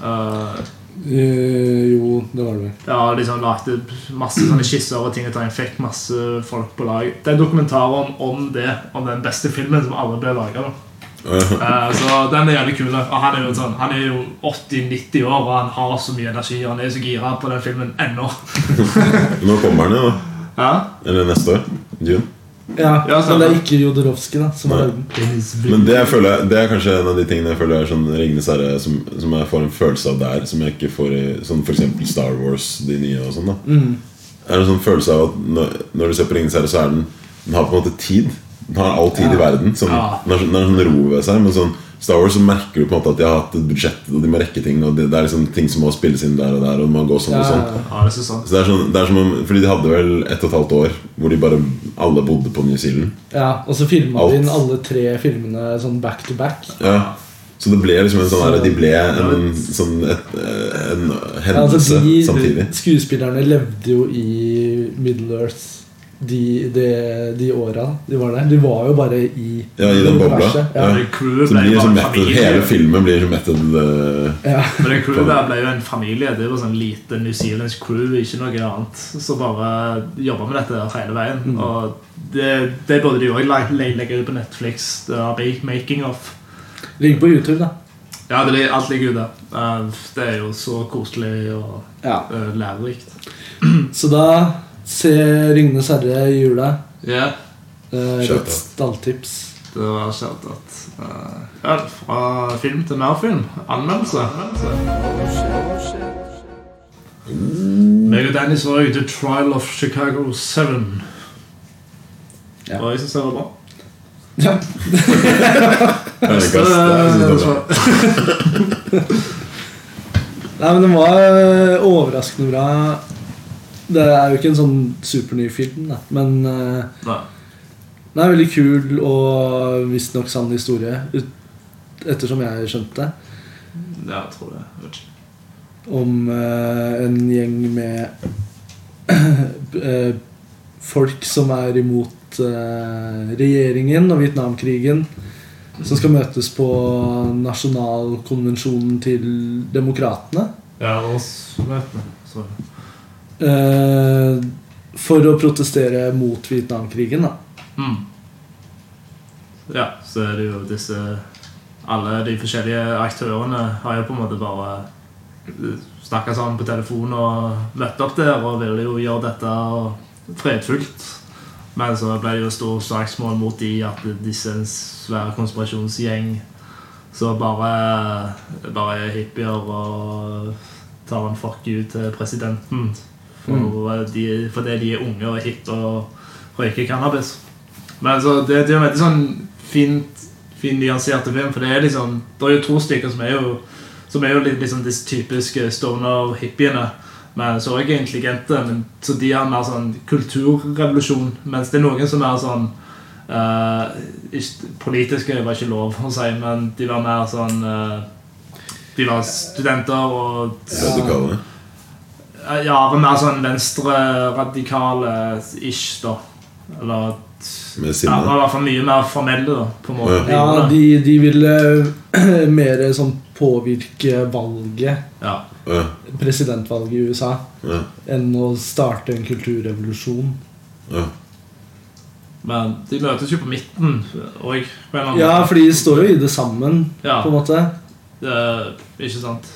Eh, Eh, jo, det var det vel. ja, liksom lagde masse sånne skisser og ting og tang. Fikk masse folk på lag. Det er dokumentaren om det, om den beste filmen som aldri ble laga. Ja, Så den er jævlig kul. da. Og han er jo sånn, han er jo 80-90 år, og han har så mye energi. og Han er så gira på den filmen ennå. Nå kommer den jo, da. Ja? Eller neste år. Dune. Ja, Ja, men det stemmer. er ikke Jodorowsky da, som Nei. er arven. Men det, jeg føler, det er kanskje en av de tingene jeg føler er sånn Ringenes herre, som, som jeg får en følelse av der, som jeg ikke får i sånn f.eks. Star Wars, de nye og sånn. da Mm. er en sånn følelse av at når, når du ser på Ringenes herre, så er den Den har på en måte tid. Den har all tid i verden. Sånn, Ja. Den har sånn- den har sånn ro ved seg. Men sånn Star Wars så merker du på en måte at de har hatt et budsjett, og de må rekke ting. Og det, det er liksom ting som må spilles inn der og der, og det må gå sånn Ja, og sånn. ja, Ja, det er så sant. Så det er sånn, det er som om, Fordi de hadde vel ett og et halvt år hvor de bare alle bodde på New Zealand. ja, og så filma Alt. de inn alle tre filmene sånn back to back. Ja. Så det ble liksom en sånn der, de ble en, Ja. sånn et, en Ja, hendelse altså de samtidig. Skuespillerne levde jo i Middle Earth de, de, de åra de var der. De var jo bare i Ja, i den bobla. universet. Ja. Ja. Det crewet Så det ble blir jo som bare en metod, hele familie. filmen blir som metod eh, Ja. Men det crewet der ble jo en familie. Det var sånn lite New Zealands crew, ikke noe annet. Så bare jobba med dette hele veien. Mm. Og det, det burde de òg legge ut på Netflix. Det er making of. Ligger på YouTube, da. Ja, det, ligger- alt ligger ute. Eh, Det er jo så koselig og Ja. eh, lærerikt. Så da se 'Ringenes herre' i jula. Ja, Eh, Shout out. Rett stalltips. det var kjærlighet. eh, Ja, fra film til mer film. Anmeldelse. Meg og Danny så jo The Trial of Chicago 7. Ja. Og jeg syns det var bra. Ja. Jeg synes det Eh, altså, er liksom sånn bra. Nei, men den var eh, overraskende bra. Det er jo ikke en sånn superny film, da. men eh, Nei. Den er veldig kul og visstnok sann historie, ut- ettersom jeg skjønte, Ja, jeg tror det. Jeg vet ikke. om eh, en gjeng med eh, folk som er imot eh, regjeringen og Vietnamkrigen, som skal møtes på nasjonalkonvensjonen til demokratene. Ja, og s- vet du, så- eh, for å protestere mot Vietnamkrigen, da. Mm. Ja, så er det jo disse Alle de forskjellige aktørene har jo på en måte bare eh, snakket sammen på telefon og møtt opp der og ville jo gjøre dette og fredfullt. Men så ble det jo stor slagsmål mot de at disse er en svær konspirasjonsgjeng så bare, bare er hippier og tar en fuck you til presidenten. For, eh, de, fordi de er unge og hippe og røyker cannabis. Men så det, det er jo en veldig sånn fint, fin nyansert film, for det er liksom Det er jo to stykker som er jo Som er jo litt liksom disse typiske stoner-hippiene. Men så er jeg intelligente, men så de har mer sånn kulturrevolusjon. Mens det er noen som er sånn eh, ikke, Politiske var ikke lov å si, men de var mer sånn eh, De var studenter og Radikale. Eh, Ja, var mer sånn venstre-radikale-ish, da. Eller Med ja, det sinne. var i hvert fall mye mer formelle, da. På en måte. Ja, de, de ville mer sånn påvirke valget, ja. Ja, presidentvalget i USA, ja, enn å starte en kulturrevolusjon. ja. Men de møtes jo på midten òg. Ja, for de står jo i det sammen, Ja. på en måte. Ikke sant?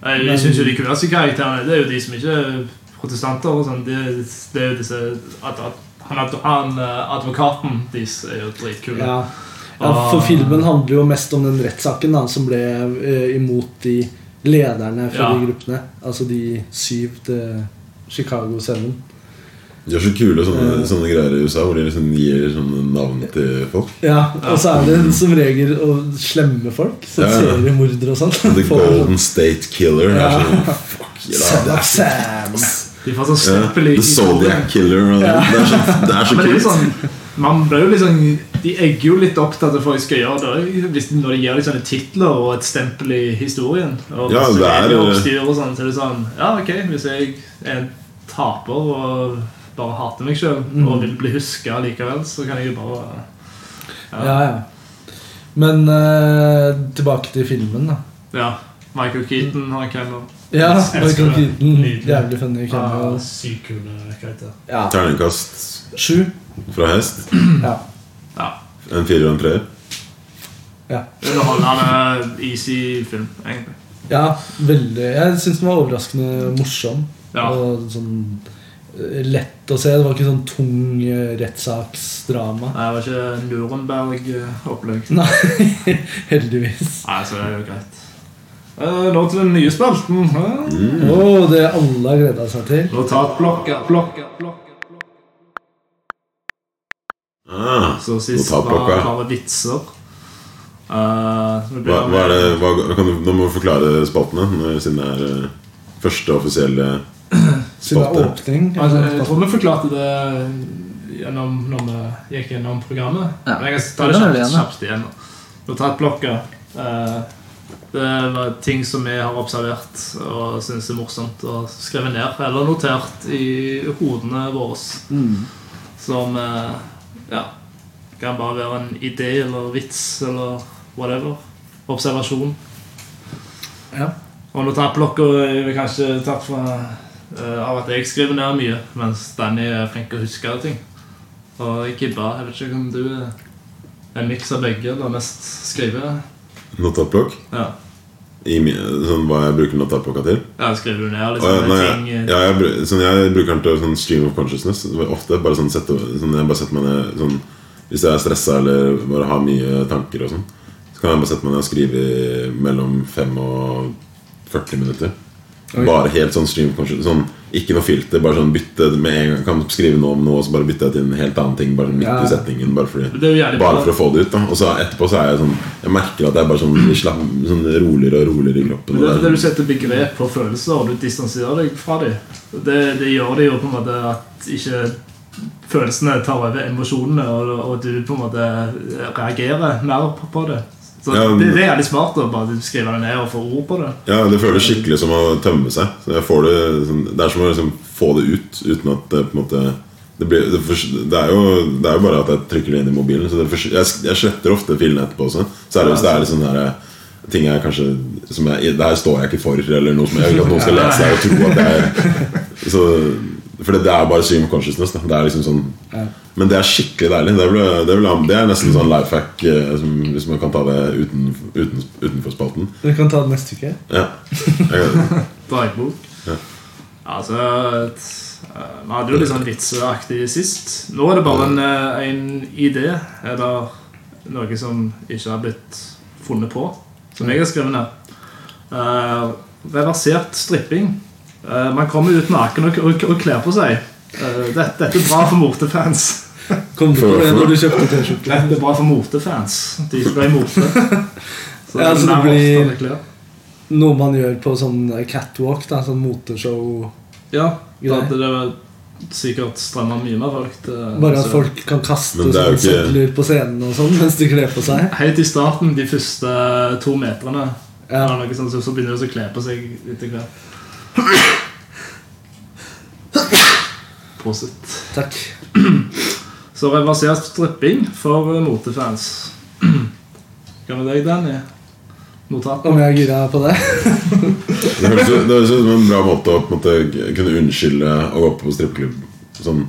Jeg, jeg syns jo de kuleste karakterene Det er jo de som ikke er protestanter. og sånn Det, det er jo disse at, at, han, ad- han eh, Advokaten deres er jo dritkule. Ja. ja, for filmen handler jo mest om den rettssaken da, som ble eh, imot de lederne fra Ja. de gruppene. Altså de syv til Chicago Seven. De har så kule sånne, sånne greier i USA hvor de liksom gir sånne navn til folk. Ja, og så er det som regel å slemme folk. Ja, ja. Seriemordere og sånn. The Får- Golden State Killer. Det er sånn, fuck yeah, det Sam, er Sam. De får sånn Ja, stempel i The Zodiac Killer. og Det det er så, det er så Men det er jo kult. sånn man blir jo liksom, De egger jo litt opp til at folk skal gjøre det hvis- når de gir deg sånne titler og et stempel i historien. Og Ja, så det er- eh, er det jo oppstyr og sånn, så det er sånn Ja, ok, hvis jeg er en taper og bare hater meg sjøl Mm. og vil bli huska likevel, så kan jeg jo bare Ja, ja. Men eh, tilbake til filmen, da. Ja. Michael Keaton har en camera. Ja, Jeg elsker Michael det. Keaton. Nydelig. Mm, Ah. Jævlig funny cameo. Sykt kule karakter. Ja. Terningkast Sju. fra hest. Ja. Ja. En firer og en treer. Underholdende, easy film, egentlig. ja, veldig Jeg syns den var overraskende morsom. Ja. Og sånn eh, lett å se. Det var ikke sånn tung eh, rettssaksdrama. Nei, Det var ikke eh, Nuremberg-opplegg. Nei, heldigvis. Nei, så det er jo greit. Eh, nå til den nye spalten. Uh, Å, det alle har gleda seg til. Notatblokka, blokka, blokka. Ah, Så sist var Notatblokka. bare vitser. Eh, så vi hva, begynner hva er det, med- hva, kan du, nå må du forklare spaltene, når- siden det er eh, første offisielle Siden det spalte. er åpning. Altså, jeg tror vi forklarte det gjennom, når vi gikk gjennom programmet. Ja. Men jeg kan ta det Det kan vi gjøre kjapt, igjen, da. kjapt igjen. da. Notatblokka. eh, det var ting som vi har observert og syns er morsomt og skrevet ned eller notert i hodene våre. Mm. eh, Som eh, ja, kan bare være en idé eller vits eller whatever. Observasjon. Ja. Og notatblokka er vel eh, kanskje tatt fra eh, av at jeg skriver ned mye, mens Danny er flink til å huske ting. Og Kibba, jeg vet ikke om du eh, er en miks av begge, eller mest skrive. Notatblokk? Ja. I, mi- sånn, hva jeg bruker notatblokka til? ja, skriver du ned Å, ja, liksom nei, ting jeg, ja, jeg, bru- sånn, jeg bruker den til sånn stream of consciousness. Ofte bare sånn, sette, sånn Jeg bare setter meg ned sånn, Hvis jeg er stressa eller bare har mye tanker og sånn, så kan jeg bare sette meg ned og skrive i mellom 5 og 40 minutter. Bare helt sånn stream of consciousness. Sånn, ikke noe filter. Bare sånn bytte med en gang. Kan skrive noe om noe, og så bare bytte jeg til en helt annen ting. Bare midt Ja. i setningen Bare fordi Det er jo jævlig bare bra. for å få det ut. da Og så etterpå så er jeg sånn Jeg merker at jeg bare sånn, slapp, sånn roligere og roligere i kroppen. Men det er og fordi du det er- setter begrep på følelser, og du distanserer deg fra dem. Det, det gjør det jo på en måte at ikke følelsene tar over emosjonene, og, og du på en måte reagerer mer på, på det. Så Ja, men- det, det er jævlig smart å bare skrive det ned og få ord på det. Ja, Det føles skikkelig som å tømme seg. Så jeg får det, sånn, det er som å liksom få det ut uten at det på en måte det, blir, det, fors- det, er jo, det er jo bare at jeg trykker det inn i mobilen. Så det fors- jeg, s- jeg sletter ofte filene etterpå også. Særlig hvis det er litt sånne her, eh, ting jeg kanskje som jeg, Det her står jeg ikke for, eller noe som jeg vil at noen skal lese her og tro at jeg så, For det, det er bare stream of consciousness. Da. Det er liksom sånn Ja. Men det er skikkelig deilig. Det, ble, det, ble, det er nesten sånn life hack eh, som, hvis man kan ta det uten, uten, utenfor spalten. Vi kan ta det neste uke. Ja. Jeg- Dagbok. Ja. Altså et- eh, Vi hadde jo litt sånn vitseaktig sist. Nå er det bare en, eh, en idé, eller noe som ikke har blitt funnet på, som jeg har skrevet ned. Eh, reversert stripping. Eh, man kommer ut naken og, og, og kler på seg. Eh, dette, dette er bra for motefans. Kom du på For- det for- når du kjøpte T-skjorte? Dette er bra for motefans. De som ble mote. Så Ja, så det mer blir- oftere klær. Noe man gjør på sånn catwalk, da, sånn moteshow. Ja, Grei. da hadde det vel sikkert strømmet mye mer folk. til- Bare at altså, folk kan kaste Men det er jo sånn ikke- sedler på scenen og sånn mens de kler på seg. Helt i starten, de første to meterne, Ja. eller noe sånt, sånn, så- så begynner de å kle på seg etter hvert. Prosit. Takk. Så reversert stripping for eh, motefans. Hva med deg, Danny? Notat? Om jeg er gira på det? Det høres ut det høres ut som en bra måte å på en måte, kunne unnskylde å gå på strippeklubb sånn,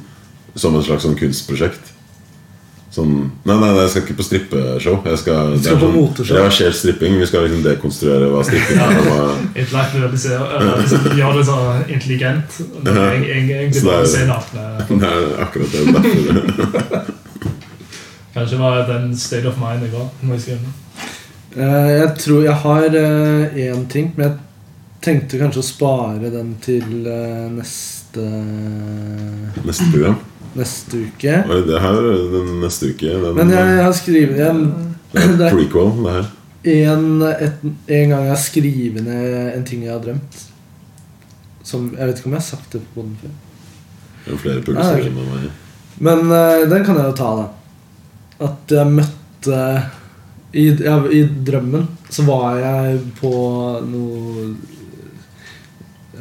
som et slags sånn kunstprosjekt. Sånn, nei, nei, nei, jeg skal ikke på strippeshow. Jeg skal, Du skal det er på moteshow. Reversert stripping. Vi skal liksom dekonstruere hva stripping er. og hva- Gjør det så intelligent. Så Egentlig det er- bare se nakne. Det er akkurat det. Derfor. Kanskje var den state of mind jeg var. Når jeg skrev den. Eh, Jeg tror jeg har eh, én ting, men jeg tenkte kanskje å spare den til eh, neste Neste program. neste uke. Oi, det her den neste uke. Den, Men jeg, jeg har skrevet en, det det er prequel, det her. er en, et, en gang jeg har skrevet ned en ting jeg har drømt. Som, Jeg vet ikke om jeg har sagt det på den før. Det er flere Ah, pulser ok. enn meg. Men eh, den kan jeg jo ta, da. At jeg møtte i, ja, I drømmen så var jeg på noe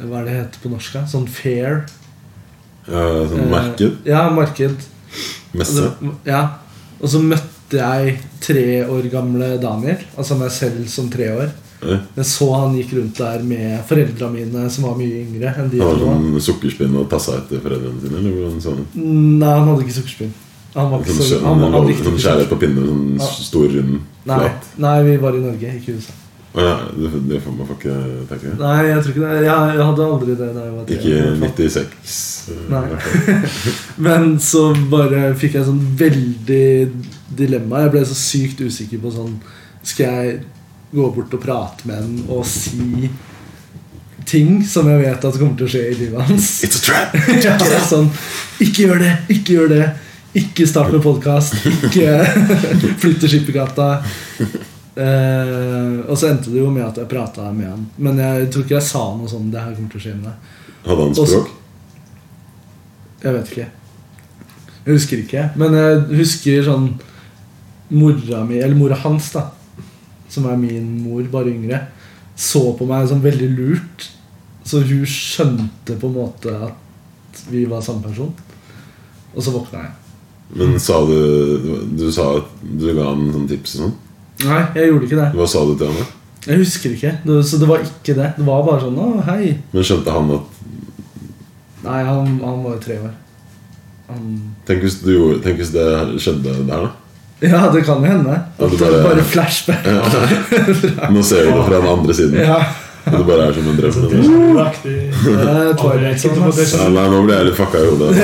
Hva er det det heter på norsk? da? Sånn fair. Ja, sånn Eh, merket. Ja, marked. Og Messe. så- Ja. Og så møtte jeg tre år gamle Daniel, altså meg selv som tre år. Oi, Jeg så han gikk rundt der med foreldra mine, som var mye yngre enn de Han var to. var. sånn sukkerspinn og tassa etter foreldrene sine? Eller hvordan sånn? Nei, han hadde ikke sukkerspinn. Han var ikke Sånn, så skjønn- han, han sånn, likte ikke kjærlighet på pinne, sånn Ja. stor, rund, Nei, flat. nei, vi var i Norge, ikke i USA. Å ja, det, det får man får ikke tenke. Nei, jeg tror ikke det. Jeg, jeg hadde aldri det da jeg var tre. Ikke i hvert fall. 96. eh, Nei. i hvert fall. Men så bare fikk jeg sånn veldig dilemma. Jeg ble så sykt usikker på sånn Skal jeg gå bort og prate med ham og si ting som jeg vet at kommer til å skje i livet hans? It's a trap! Ja, sånn, ikke gjør det, ikke gjør det. Ikke start med podkast. Ikke flytt til Skippergata. Eh, og så endte det jo med at jeg prata med han. Men jeg tror ikke jeg sa noe sånn. Det her kommer til å skje med deg. Hadde han Og så- språk? Jeg vet ikke. Jeg husker ikke. Men jeg husker sånn mora mi, eller mora hans, da, som er min mor, bare yngre, så på meg som veldig lurt. Så hun skjønte på en måte at vi var samme person. Og så våkna jeg. Men sa du Du sa at du ga han sånn tips og sånn? Nei, jeg gjorde ikke det. Hva sa du til han da? Jeg husker ikke. Det, så det var ikke det. Det var bare sånn Å, hei. Men skjønte han at Nei, han, han var jo tre år. Han Tenk hvis, du, gjorde- tenk hvis det skjedde der, da? Ja, det kan jo hende. Ja, At det det er bare- bare flashback. Nå ser du det fra den andre siden. Ja. Og det bare er som en drøm. Så det er ikke noaktig. Det er Twilight Zone, ass. Ja, nei, nå ble jeg litt fucka i hodet.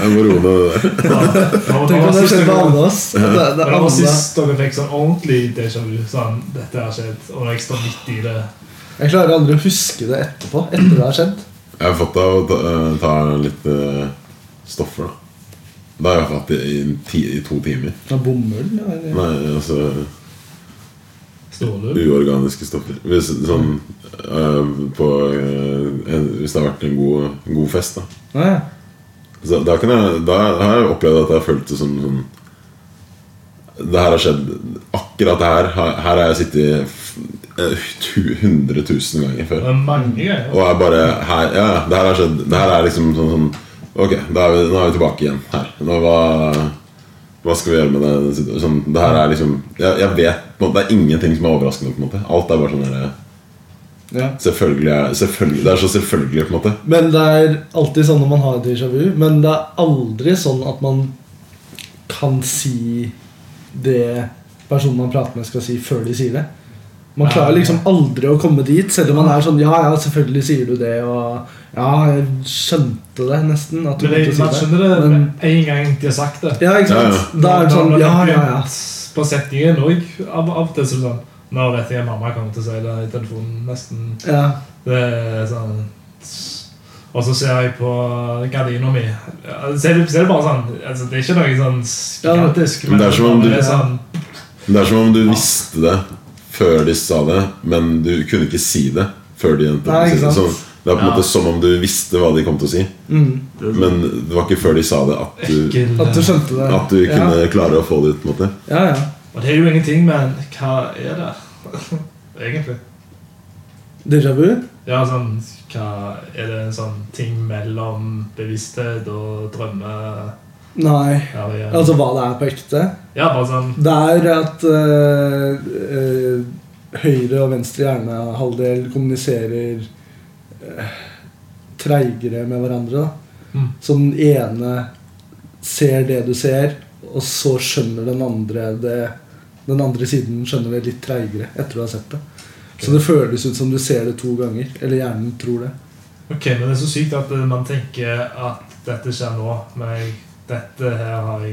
Jeg må roe ned det der. Tenk om det skjedde med Det alle oss. Det, det, er var alle. sist dere fikk sånn ordentlig déjà vu. Sånn, dette har skjedd, og jeg står midt i det. Jeg klarer aldri å huske det etterpå. Etter det har skjedd. Jeg har fått deg å ta, eh, ta litt eh, stoffer, da. Da har jeg hatt det i, en ti, i to timer. Det er bomull. eller? Nei, altså Ståle. Uorganiske stoffer. Hvis, sånn, eh, på, eh, en, hvis det har vært en god, en god fest, da. Nei, ja. Så da, kan jeg, da har jeg opplevd at jeg har følt det som sånn Det her har skjedd Akkurat det her har- Her har jeg sittet f- eh, tu- 100 000 ganger Det før. er mange Mm. greier. Og jeg bare her, Ja, det her har skjedd Det her er liksom sånn, sånn Ok, da er vi, nå er vi tilbake igjen her. Nå, hva, hva skal vi gjøre med det? situ- Sånn, det her er liksom Jeg, jeg vet på en måte, Det er ingenting som er overraskende. på en måte Alt er bare sånn der, Ja. Selvfølgelig, er- selvfølgelig, det er så selvfølgelig, på en måte. Men det er alltid sånn når man har déjà vu. Men det er aldri sånn at man kan si det personen man prater med, skal si, før de sier det. Man klarer liksom aldri å komme dit, selv om man er sånn Ja, ja, selvfølgelig sier du det, og Ja, jeg skjønte det nesten. At du Men jeg, måtte man si det. skjønner det med Men- en gang de har sagt det. Ja, ikke sant? Ja, Da er det sånn Når- når Ja, det ja, blir ja. På setningen òg. Av av og til så er det sånn Nå vet jeg mamma kommer til å si det i telefonen nesten. ja. Det er sånn Og så ser jeg på gardina mi. Ja, Ser du ser du bare sånn altså, Det er ikke noe sånn gigantisk. Men det er som om det du- er sånn Men Det er som om du visste det før de sa det, men du kunne ikke si det før de endte Nei, å si ikke det. sant? Sånn, det er på en Ja. måte som om du visste hva de kom til å si, Mm. men det var ikke før de sa det at du, ekkel At du skjønte det. at du kunne klare å få det ut. på en måte Ja, ja. ja. Og det er jo ingenting, men hva er det? Egentlig. Déjà vu? Ja, sånn hva Er det en sånn ting mellom bevissthet og drømme? Nei. Ja, ja. Altså hva det er på ekte? ja bare sånn Det er at eh, eh, høyre og venstre hjernehalvdel kommuniserer eh, treigere med hverandre. Da. Mm. Så den ene ser det du ser, og så skjønner den andre det Den andre siden skjønner det litt treigere etter du har sett det. Så det føles ut som du ser det to ganger. Eller hjernen tror det. Ok, men det er så sykt at eh, man tenker at dette skjer nå, men jeg, dette her har jeg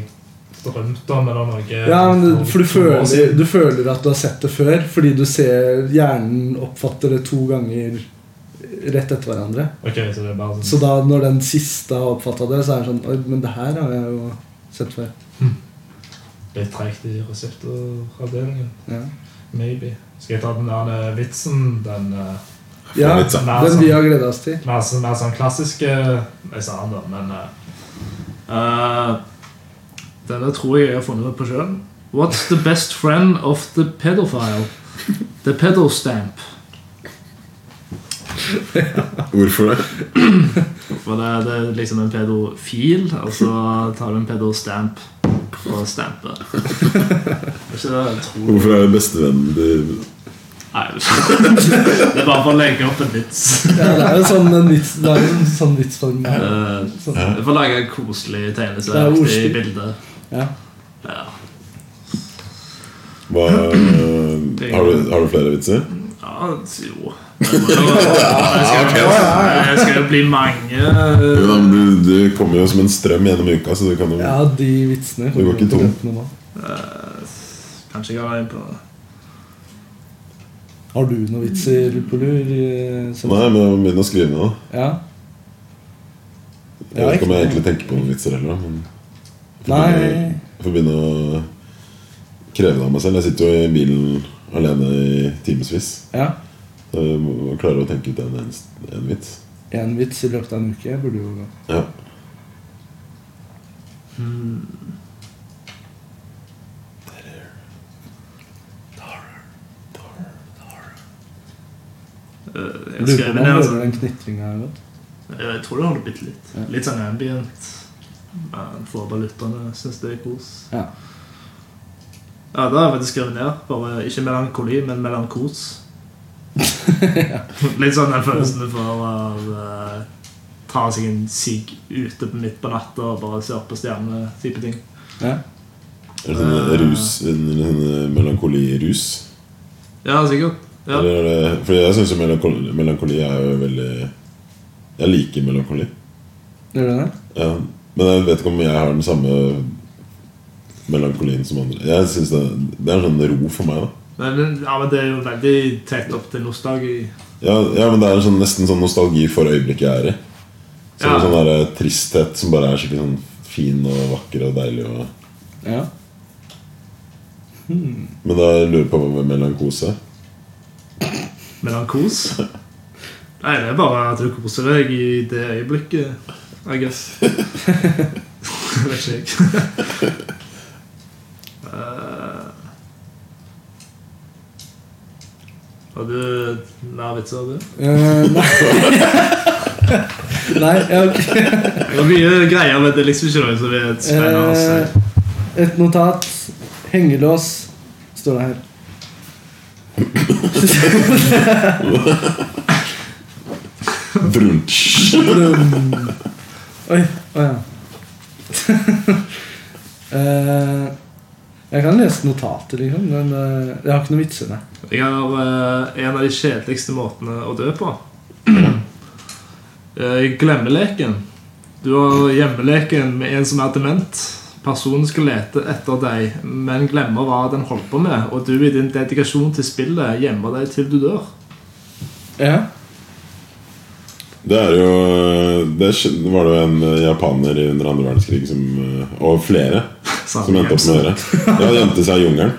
drømt om eller noe. Ja, men, for du for to år føler, siden. du føler at du har sett det før, fordi du ser hjernen oppfatter det to ganger rett etter hverandre. Ok, så det er bare Så sånn. da når den siste har oppfatta det, så er det sånn Oi, men det her har jeg jo sett før. litt tregt i reseptoravdelingen. Ja. Maybe. Skal jeg ta den der eh, vitsen? Den eh, Ja, litt sånn. den vi har gleda oss til. mer, sånn- mer sånn klassiske Jeg sa den, da, men eh, Eh, denne tror jeg jeg har funnet på sjøl. What's the best friend of the pedophile? The pedo stamp. Hvorfor det? For det, det er liksom en pedofil, og så tar du en pedo stamp og stamper. Er ikke det jeg tror? Hvorfor er det bestevennen du Nei, det er bare for å legge opp en vits. Ja, det er jo sånn en vits, det er jo en sånn vitsform. Eh, her. Sånn. Jeg får lage en koselig Det er tegneserie i ordstil. bildet. Ja. Ja. hva, har du? Har du flere vitser? Ja, jo Det må jo- Det skal jo- det skal jo bli mange Jo, da, men du, du kommer jo som en strøm gjennom uka, så du kan jo ja, de vitsene Det går ikke tom. grensen nå. Kanskje jeg har en på Har du noen vitser på lur? eh, som- Nei, men jeg må begynne å skrive ned, da. Ja. Jeg vet ikke om jeg egentlig tenker på noen vitser heller, da, men jeg får begynne- Nei. Jeg får begynne å kreve det av meg selv. Jeg sitter jo i bilen alene i timevis. Ja. Så jeg må klare å tenke ut en, eneste- en vits. Én vits i løpet av en uke burde jo gå. Ja. eh, Jeg Jeg skrev ned hører altså. den knitringa her godt. Jeg tror det holder bitte litt. Litt sånn ambient. Men for valutaene syns det er kos. Ja. Ja, da har jeg faktisk skrevet ned. Bare ikke melankoli, men melankos. Litt sånn den følelsen du får av eh, ta seg en sigg ute på midt på natta og bare se opp på stjernene. type ting. Ja. Er det sånn rus, en, en melankoli-rus? Ja, sikkert. Ja. Eller er det, for jeg syns jo melankoli, melankoli er jo veldig Jeg liker melankoli. Gjør du det? Ja. Men jeg vet ikke om jeg har den samme melankolien som andre. Jeg synes det, det er en sånn ro for meg, da. Men, ja, men det er jo veldig tett opp til nostalgi. Ja, ja men det er en sånn, nesten sånn nostalgi for øyeblikket jeg er i. Så Ja. en sånn der, eh, tristhet som bare er skikkelig sånn fin og vakker og deilig. Og... Ja. Men da lurer jeg på hva med melankose. Melankos? Nei, det er bare at du koser deg i det øyeblikket, I guess. Vet ikke jeg. Eh, Har du mer vitser av det? Eh, nei. nei jeg, Det er mye greier, men det er liksom ikke noe som er spennende. å eh, si. et notat. Hengelås, står det her. Brunsj. Blum. Oi. Å ja. Eh, jeg kan lese notater, liksom, men eh, jeg har ikke noe vitser. nei. Jeg har eh, en av de kjedeligste måtene å dø på. Eh, Glemmeleken. Du har hjemmeleken med en som er dement. Personen skal lete etter deg, men glemmer hva den holder på med, og du i din dedikasjon til spillet gjemmer deg til du dør. Ja. Det er jo Det skj- var det jo en eh, japaner i under andre verdenskrig som eh, Og flere Sa som endte opp med å gjøre. Ja, han gjemte seg i jungelen.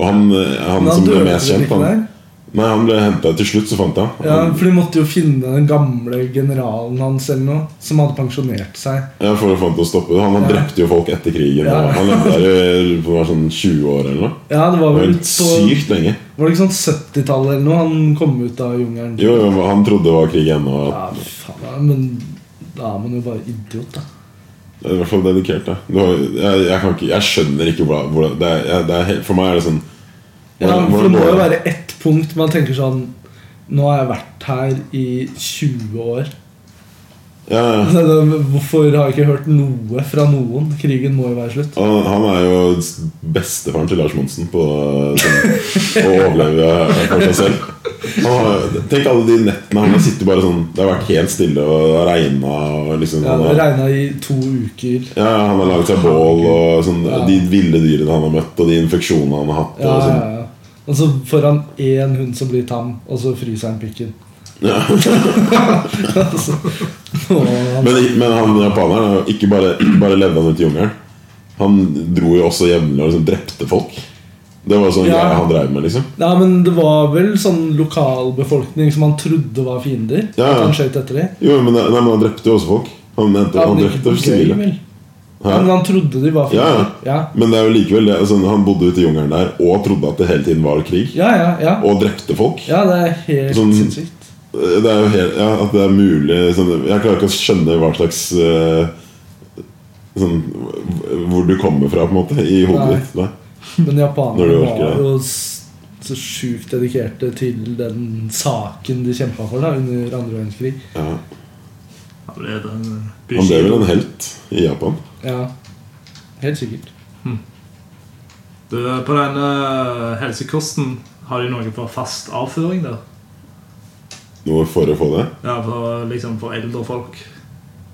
Og han, eh, han Men som ble døde mest vel kjent, ikke han, der? nei, han ble henta til slutt, så fant jeg Ja, han. for de måtte jo finne den gamle generalen hans eller noe, som hadde pensjonert seg. Ja, for å få han til å stoppe det. Han, han drepte jo folk etter krigen. Ja. og Han levde der i på sånn 20 år eller noe. Ja, det Det var var vel helt på sykt lenge. Var det ikke sånn 70-tallet eller noe han kom ut av jungelen? Jo, jo, han trodde det var krig ennå. og Ja, at- faen, ja, men da er man jo bare idiot, da. Det er I hvert fall dedikert. Da. Du har, jeg, jeg, kan ikke, jeg skjønner ikke hvordan hvordan- det er, jeg, det er, helt- For meg er det sånn Ja, hvordan- for hvordan det må går jo være ett punkt man tenker sånn Nå har jeg vært her i 20 år. Ja, ja. Så det- Hvorfor har jeg ikke hørt noe fra noen? Krigen må jo være slutt. Han, han er jo s- bestefaren til Lars Monsen på eh, sånn, å overleve for seg selv. Han har, tenk alle de nettene han har sittet bare sånn Det har vært helt stille og regna og liksom Ja, han det har, regna i to uker. ja, han har laget seg bål og sånn, Ja. de ville dyrene han har møtt, og de infeksjonene han har hatt. Ja, Og ja, sånn. ja. Og så får han én hund som blir tam, og så fryser han pikken. sånn. Ja. Altså, nå er han- Men, men han japaneren ikke bare, ikke bare levde han ut i jungelen. Han dro jo også jevnlig og liksom drepte folk. Det var sånn Ja. greie han drev med. liksom Ja, men det var vel sånn lokalbefolkning som han trodde var fiender. Ja, ja. At han skjøt etter dem. Jo, men, nei, men Han drepte jo også folk. Han, endte, han drepte sivile. Hæ? Men han trodde de var Ja, fiender. Ja, Men det er jo likevel det, altså, han bodde ute i jungelen der og trodde at det hele tiden var krig. ja, ja. ja. Og drepte folk. ja det er helt Sånn- sinnssykt. Det er jo helt, ja, At det er mulig sånn, Jeg klarer ikke å skjønne hva slags eh, sånn, Hvor du kommer fra, på en måte, i hodet Nei. ditt. Nei. Men Når du japanerne orker var det. jo s- så sjukt dedikerte til den saken de kjempa for da, under andre verdenskrig. Ja. Han ble den Han ble vel en helt i Japan. Ja, helt sikkert. Du, på den eh, helsekosten har de noe for fast avføring der. Noe for å få det. Ja, for, liksom for eldre folk.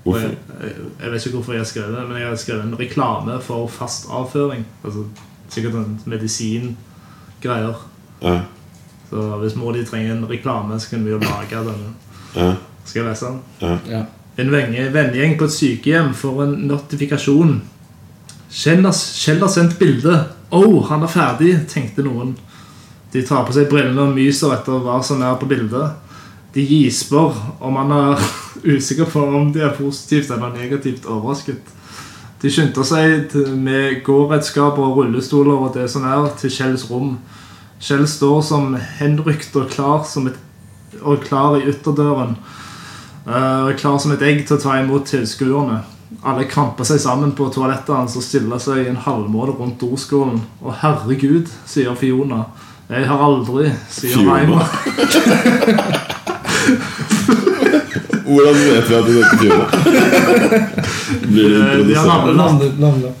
Og Hvorfor? Jeg, jeg, jeg vet ikke hvorfor jeg har skrevet det, men jeg har skrevet en reklame for fast avføring. Altså sikkert en medisingreier. Ja, Så hvis mor di trenger en reklame, så kan vi jo lage denne. ja. Skal jeg lese den? Ja. En venge- vennegjeng på et sykehjem får en notifikasjon. Kjell har, Kjell har sendt bilde. Å, han er ferdig, tenkte noen. De tar på seg brillene og myser etter hva som er på bildet. De gisper om han er usikker på om de er positivt eller negativt overrasket. De skynder seg til- med gåredskaper og rullestoler og det som er, til Kjells rom. Kjell står som henrykt og klar, som et, og klar i ytterdøren. Eh, og klar som et egg til å ta imot tilskuerne. Alle kramper seg sammen på toalettet hans og stiller seg i en halvmåne rundt doskålen. Å, herregud, sier Fiona. Jeg har aldri, sier Fiona? Raymond. Hvordan vet vi at det heter Fiona? Blir det Eh, de har introdusert? navnet. Navnet, navnet.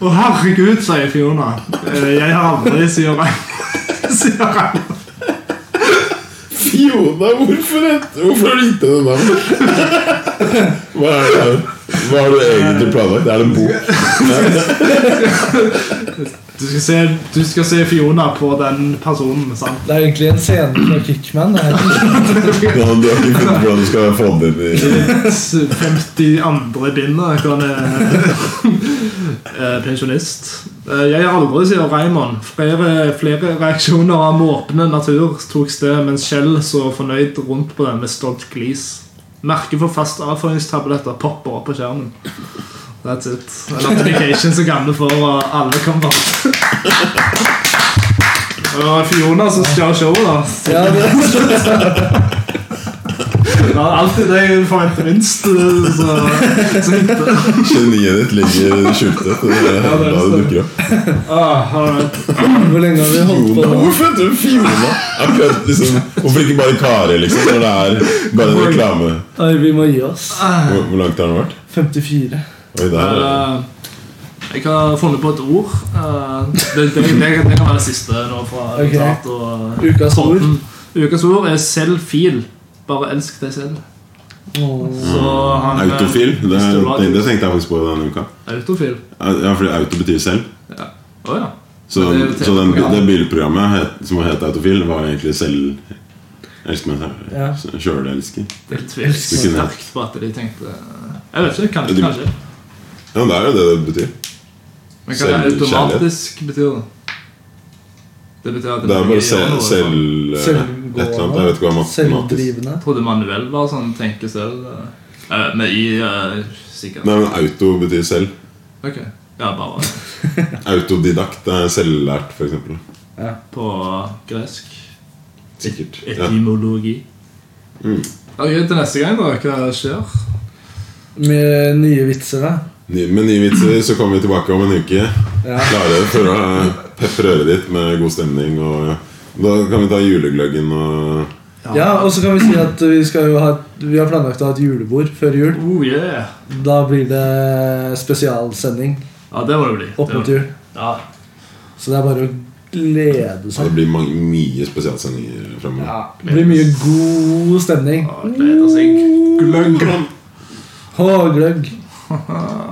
Å, herregud, sier Fiona. Eh, Jeg har aldri, sier Raymond. Sier Raymond. Fiona, hvorfor, het- hvorfor har du gitt henne navn? Hva, er det? Hva har du egentlig planlagt? Er det en bok? Du skal, se, du skal se Fiona på den personen, sant? Det er egentlig en scene fra Kickman. Det er Ja, men du har ikke funnet hvordan du skal få den inn i Det 52. bindet hvor han er eh, pensjonist. Eh, Jeg er aldri, sier Raymond. Flere, flere reaksjoner av måpende natur tok sted, mens Kjell så fornøyd rundt på den med stolt glis. Merket for fast avføringstabletter popper opp på skjermen. That's it. En application som gamle får, og alle kommer. Og Fiona som stjal showet, da. ja, det Det er alltid det jeg forventer minst. Så, så henter Geniet ditt ligger i det skjulte. Det er Ja, det er da det sant. dukker opp. ah, alright. Hvor lenge har vi holdt på Fiona. nå? Hvorfor heter hun Fiona? Jeg prøvde, liksom, hvorfor ikke bare Kari, liksom? Når det er bare en reklame. Nei, vi må gi oss. Hvor, hvor langt har den vært? 54. Oi, der, er- Eh, jeg har funnet på et ord. Eh, det, det, det, det kan være det siste nå fra Ok. Tart og Ukas ord. Torten. Ukas ord er selvfil. Bare elsk deg selv. Åh. Så Eh, han er- Autofil. Det, det, det tenkte jeg faktisk på denne uka. Autofil? Ja, fordi auto betyr selv. Å ja. Så, Men det er jo så den, TV-program. det bilprogrammet het, som het Autofil, var egentlig selv Elsker meg selv. Ja. Sjølelsker. Det tviler Du jeg kunne- sterkt på at de tenkte Jeg vet ikke. Kanskje. Du- kanskje. Ja, men det er jo det det betyr. Men hva det Selvkjærlighet. automatisk betyr det? Det betyr at Det er bare gjør selv, noe. selv eh, et eller annet. Jeg vet ikke hva matematisk Selvdrivende. Jeg trodde Manuel var sånn tenker selv. eh, eh, men i eh, sikkert. Nei, men auto betyr selv. Ok. Ja, bare Autodidakt er selvlært, for eksempel på gresk. Sikkert. Ja. Etymologi. Mm. Ok, Til neste gang, da. Hva skjer? Med nye vitser, da. Ny- Med nye vitser så kommer vi tilbake om en uke. Ja. Klare for å pepre øret ditt med god stemning. Og da kan vi ta julegløggen og Ja, og så kan vi si at vi, skal jo ha, vi har planlagt å ha et julebord før jul. Oh yeah! Da blir det spesialsending Ja, det må det bli. opp Det må- mot jul. Ja. Så det er bare å glede Så seg. det blir mange, mye spesialsendinger fremover. Ja, det blir mye god stemning. Ja, Gleder seg. Gløgg. Og gløgg.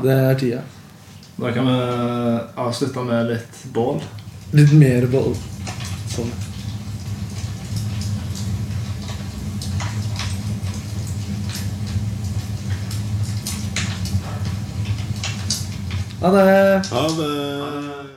Det er tida. Da kan vi avslutte med litt bål. Litt mer boll. Sånn. Ha det. Ha det!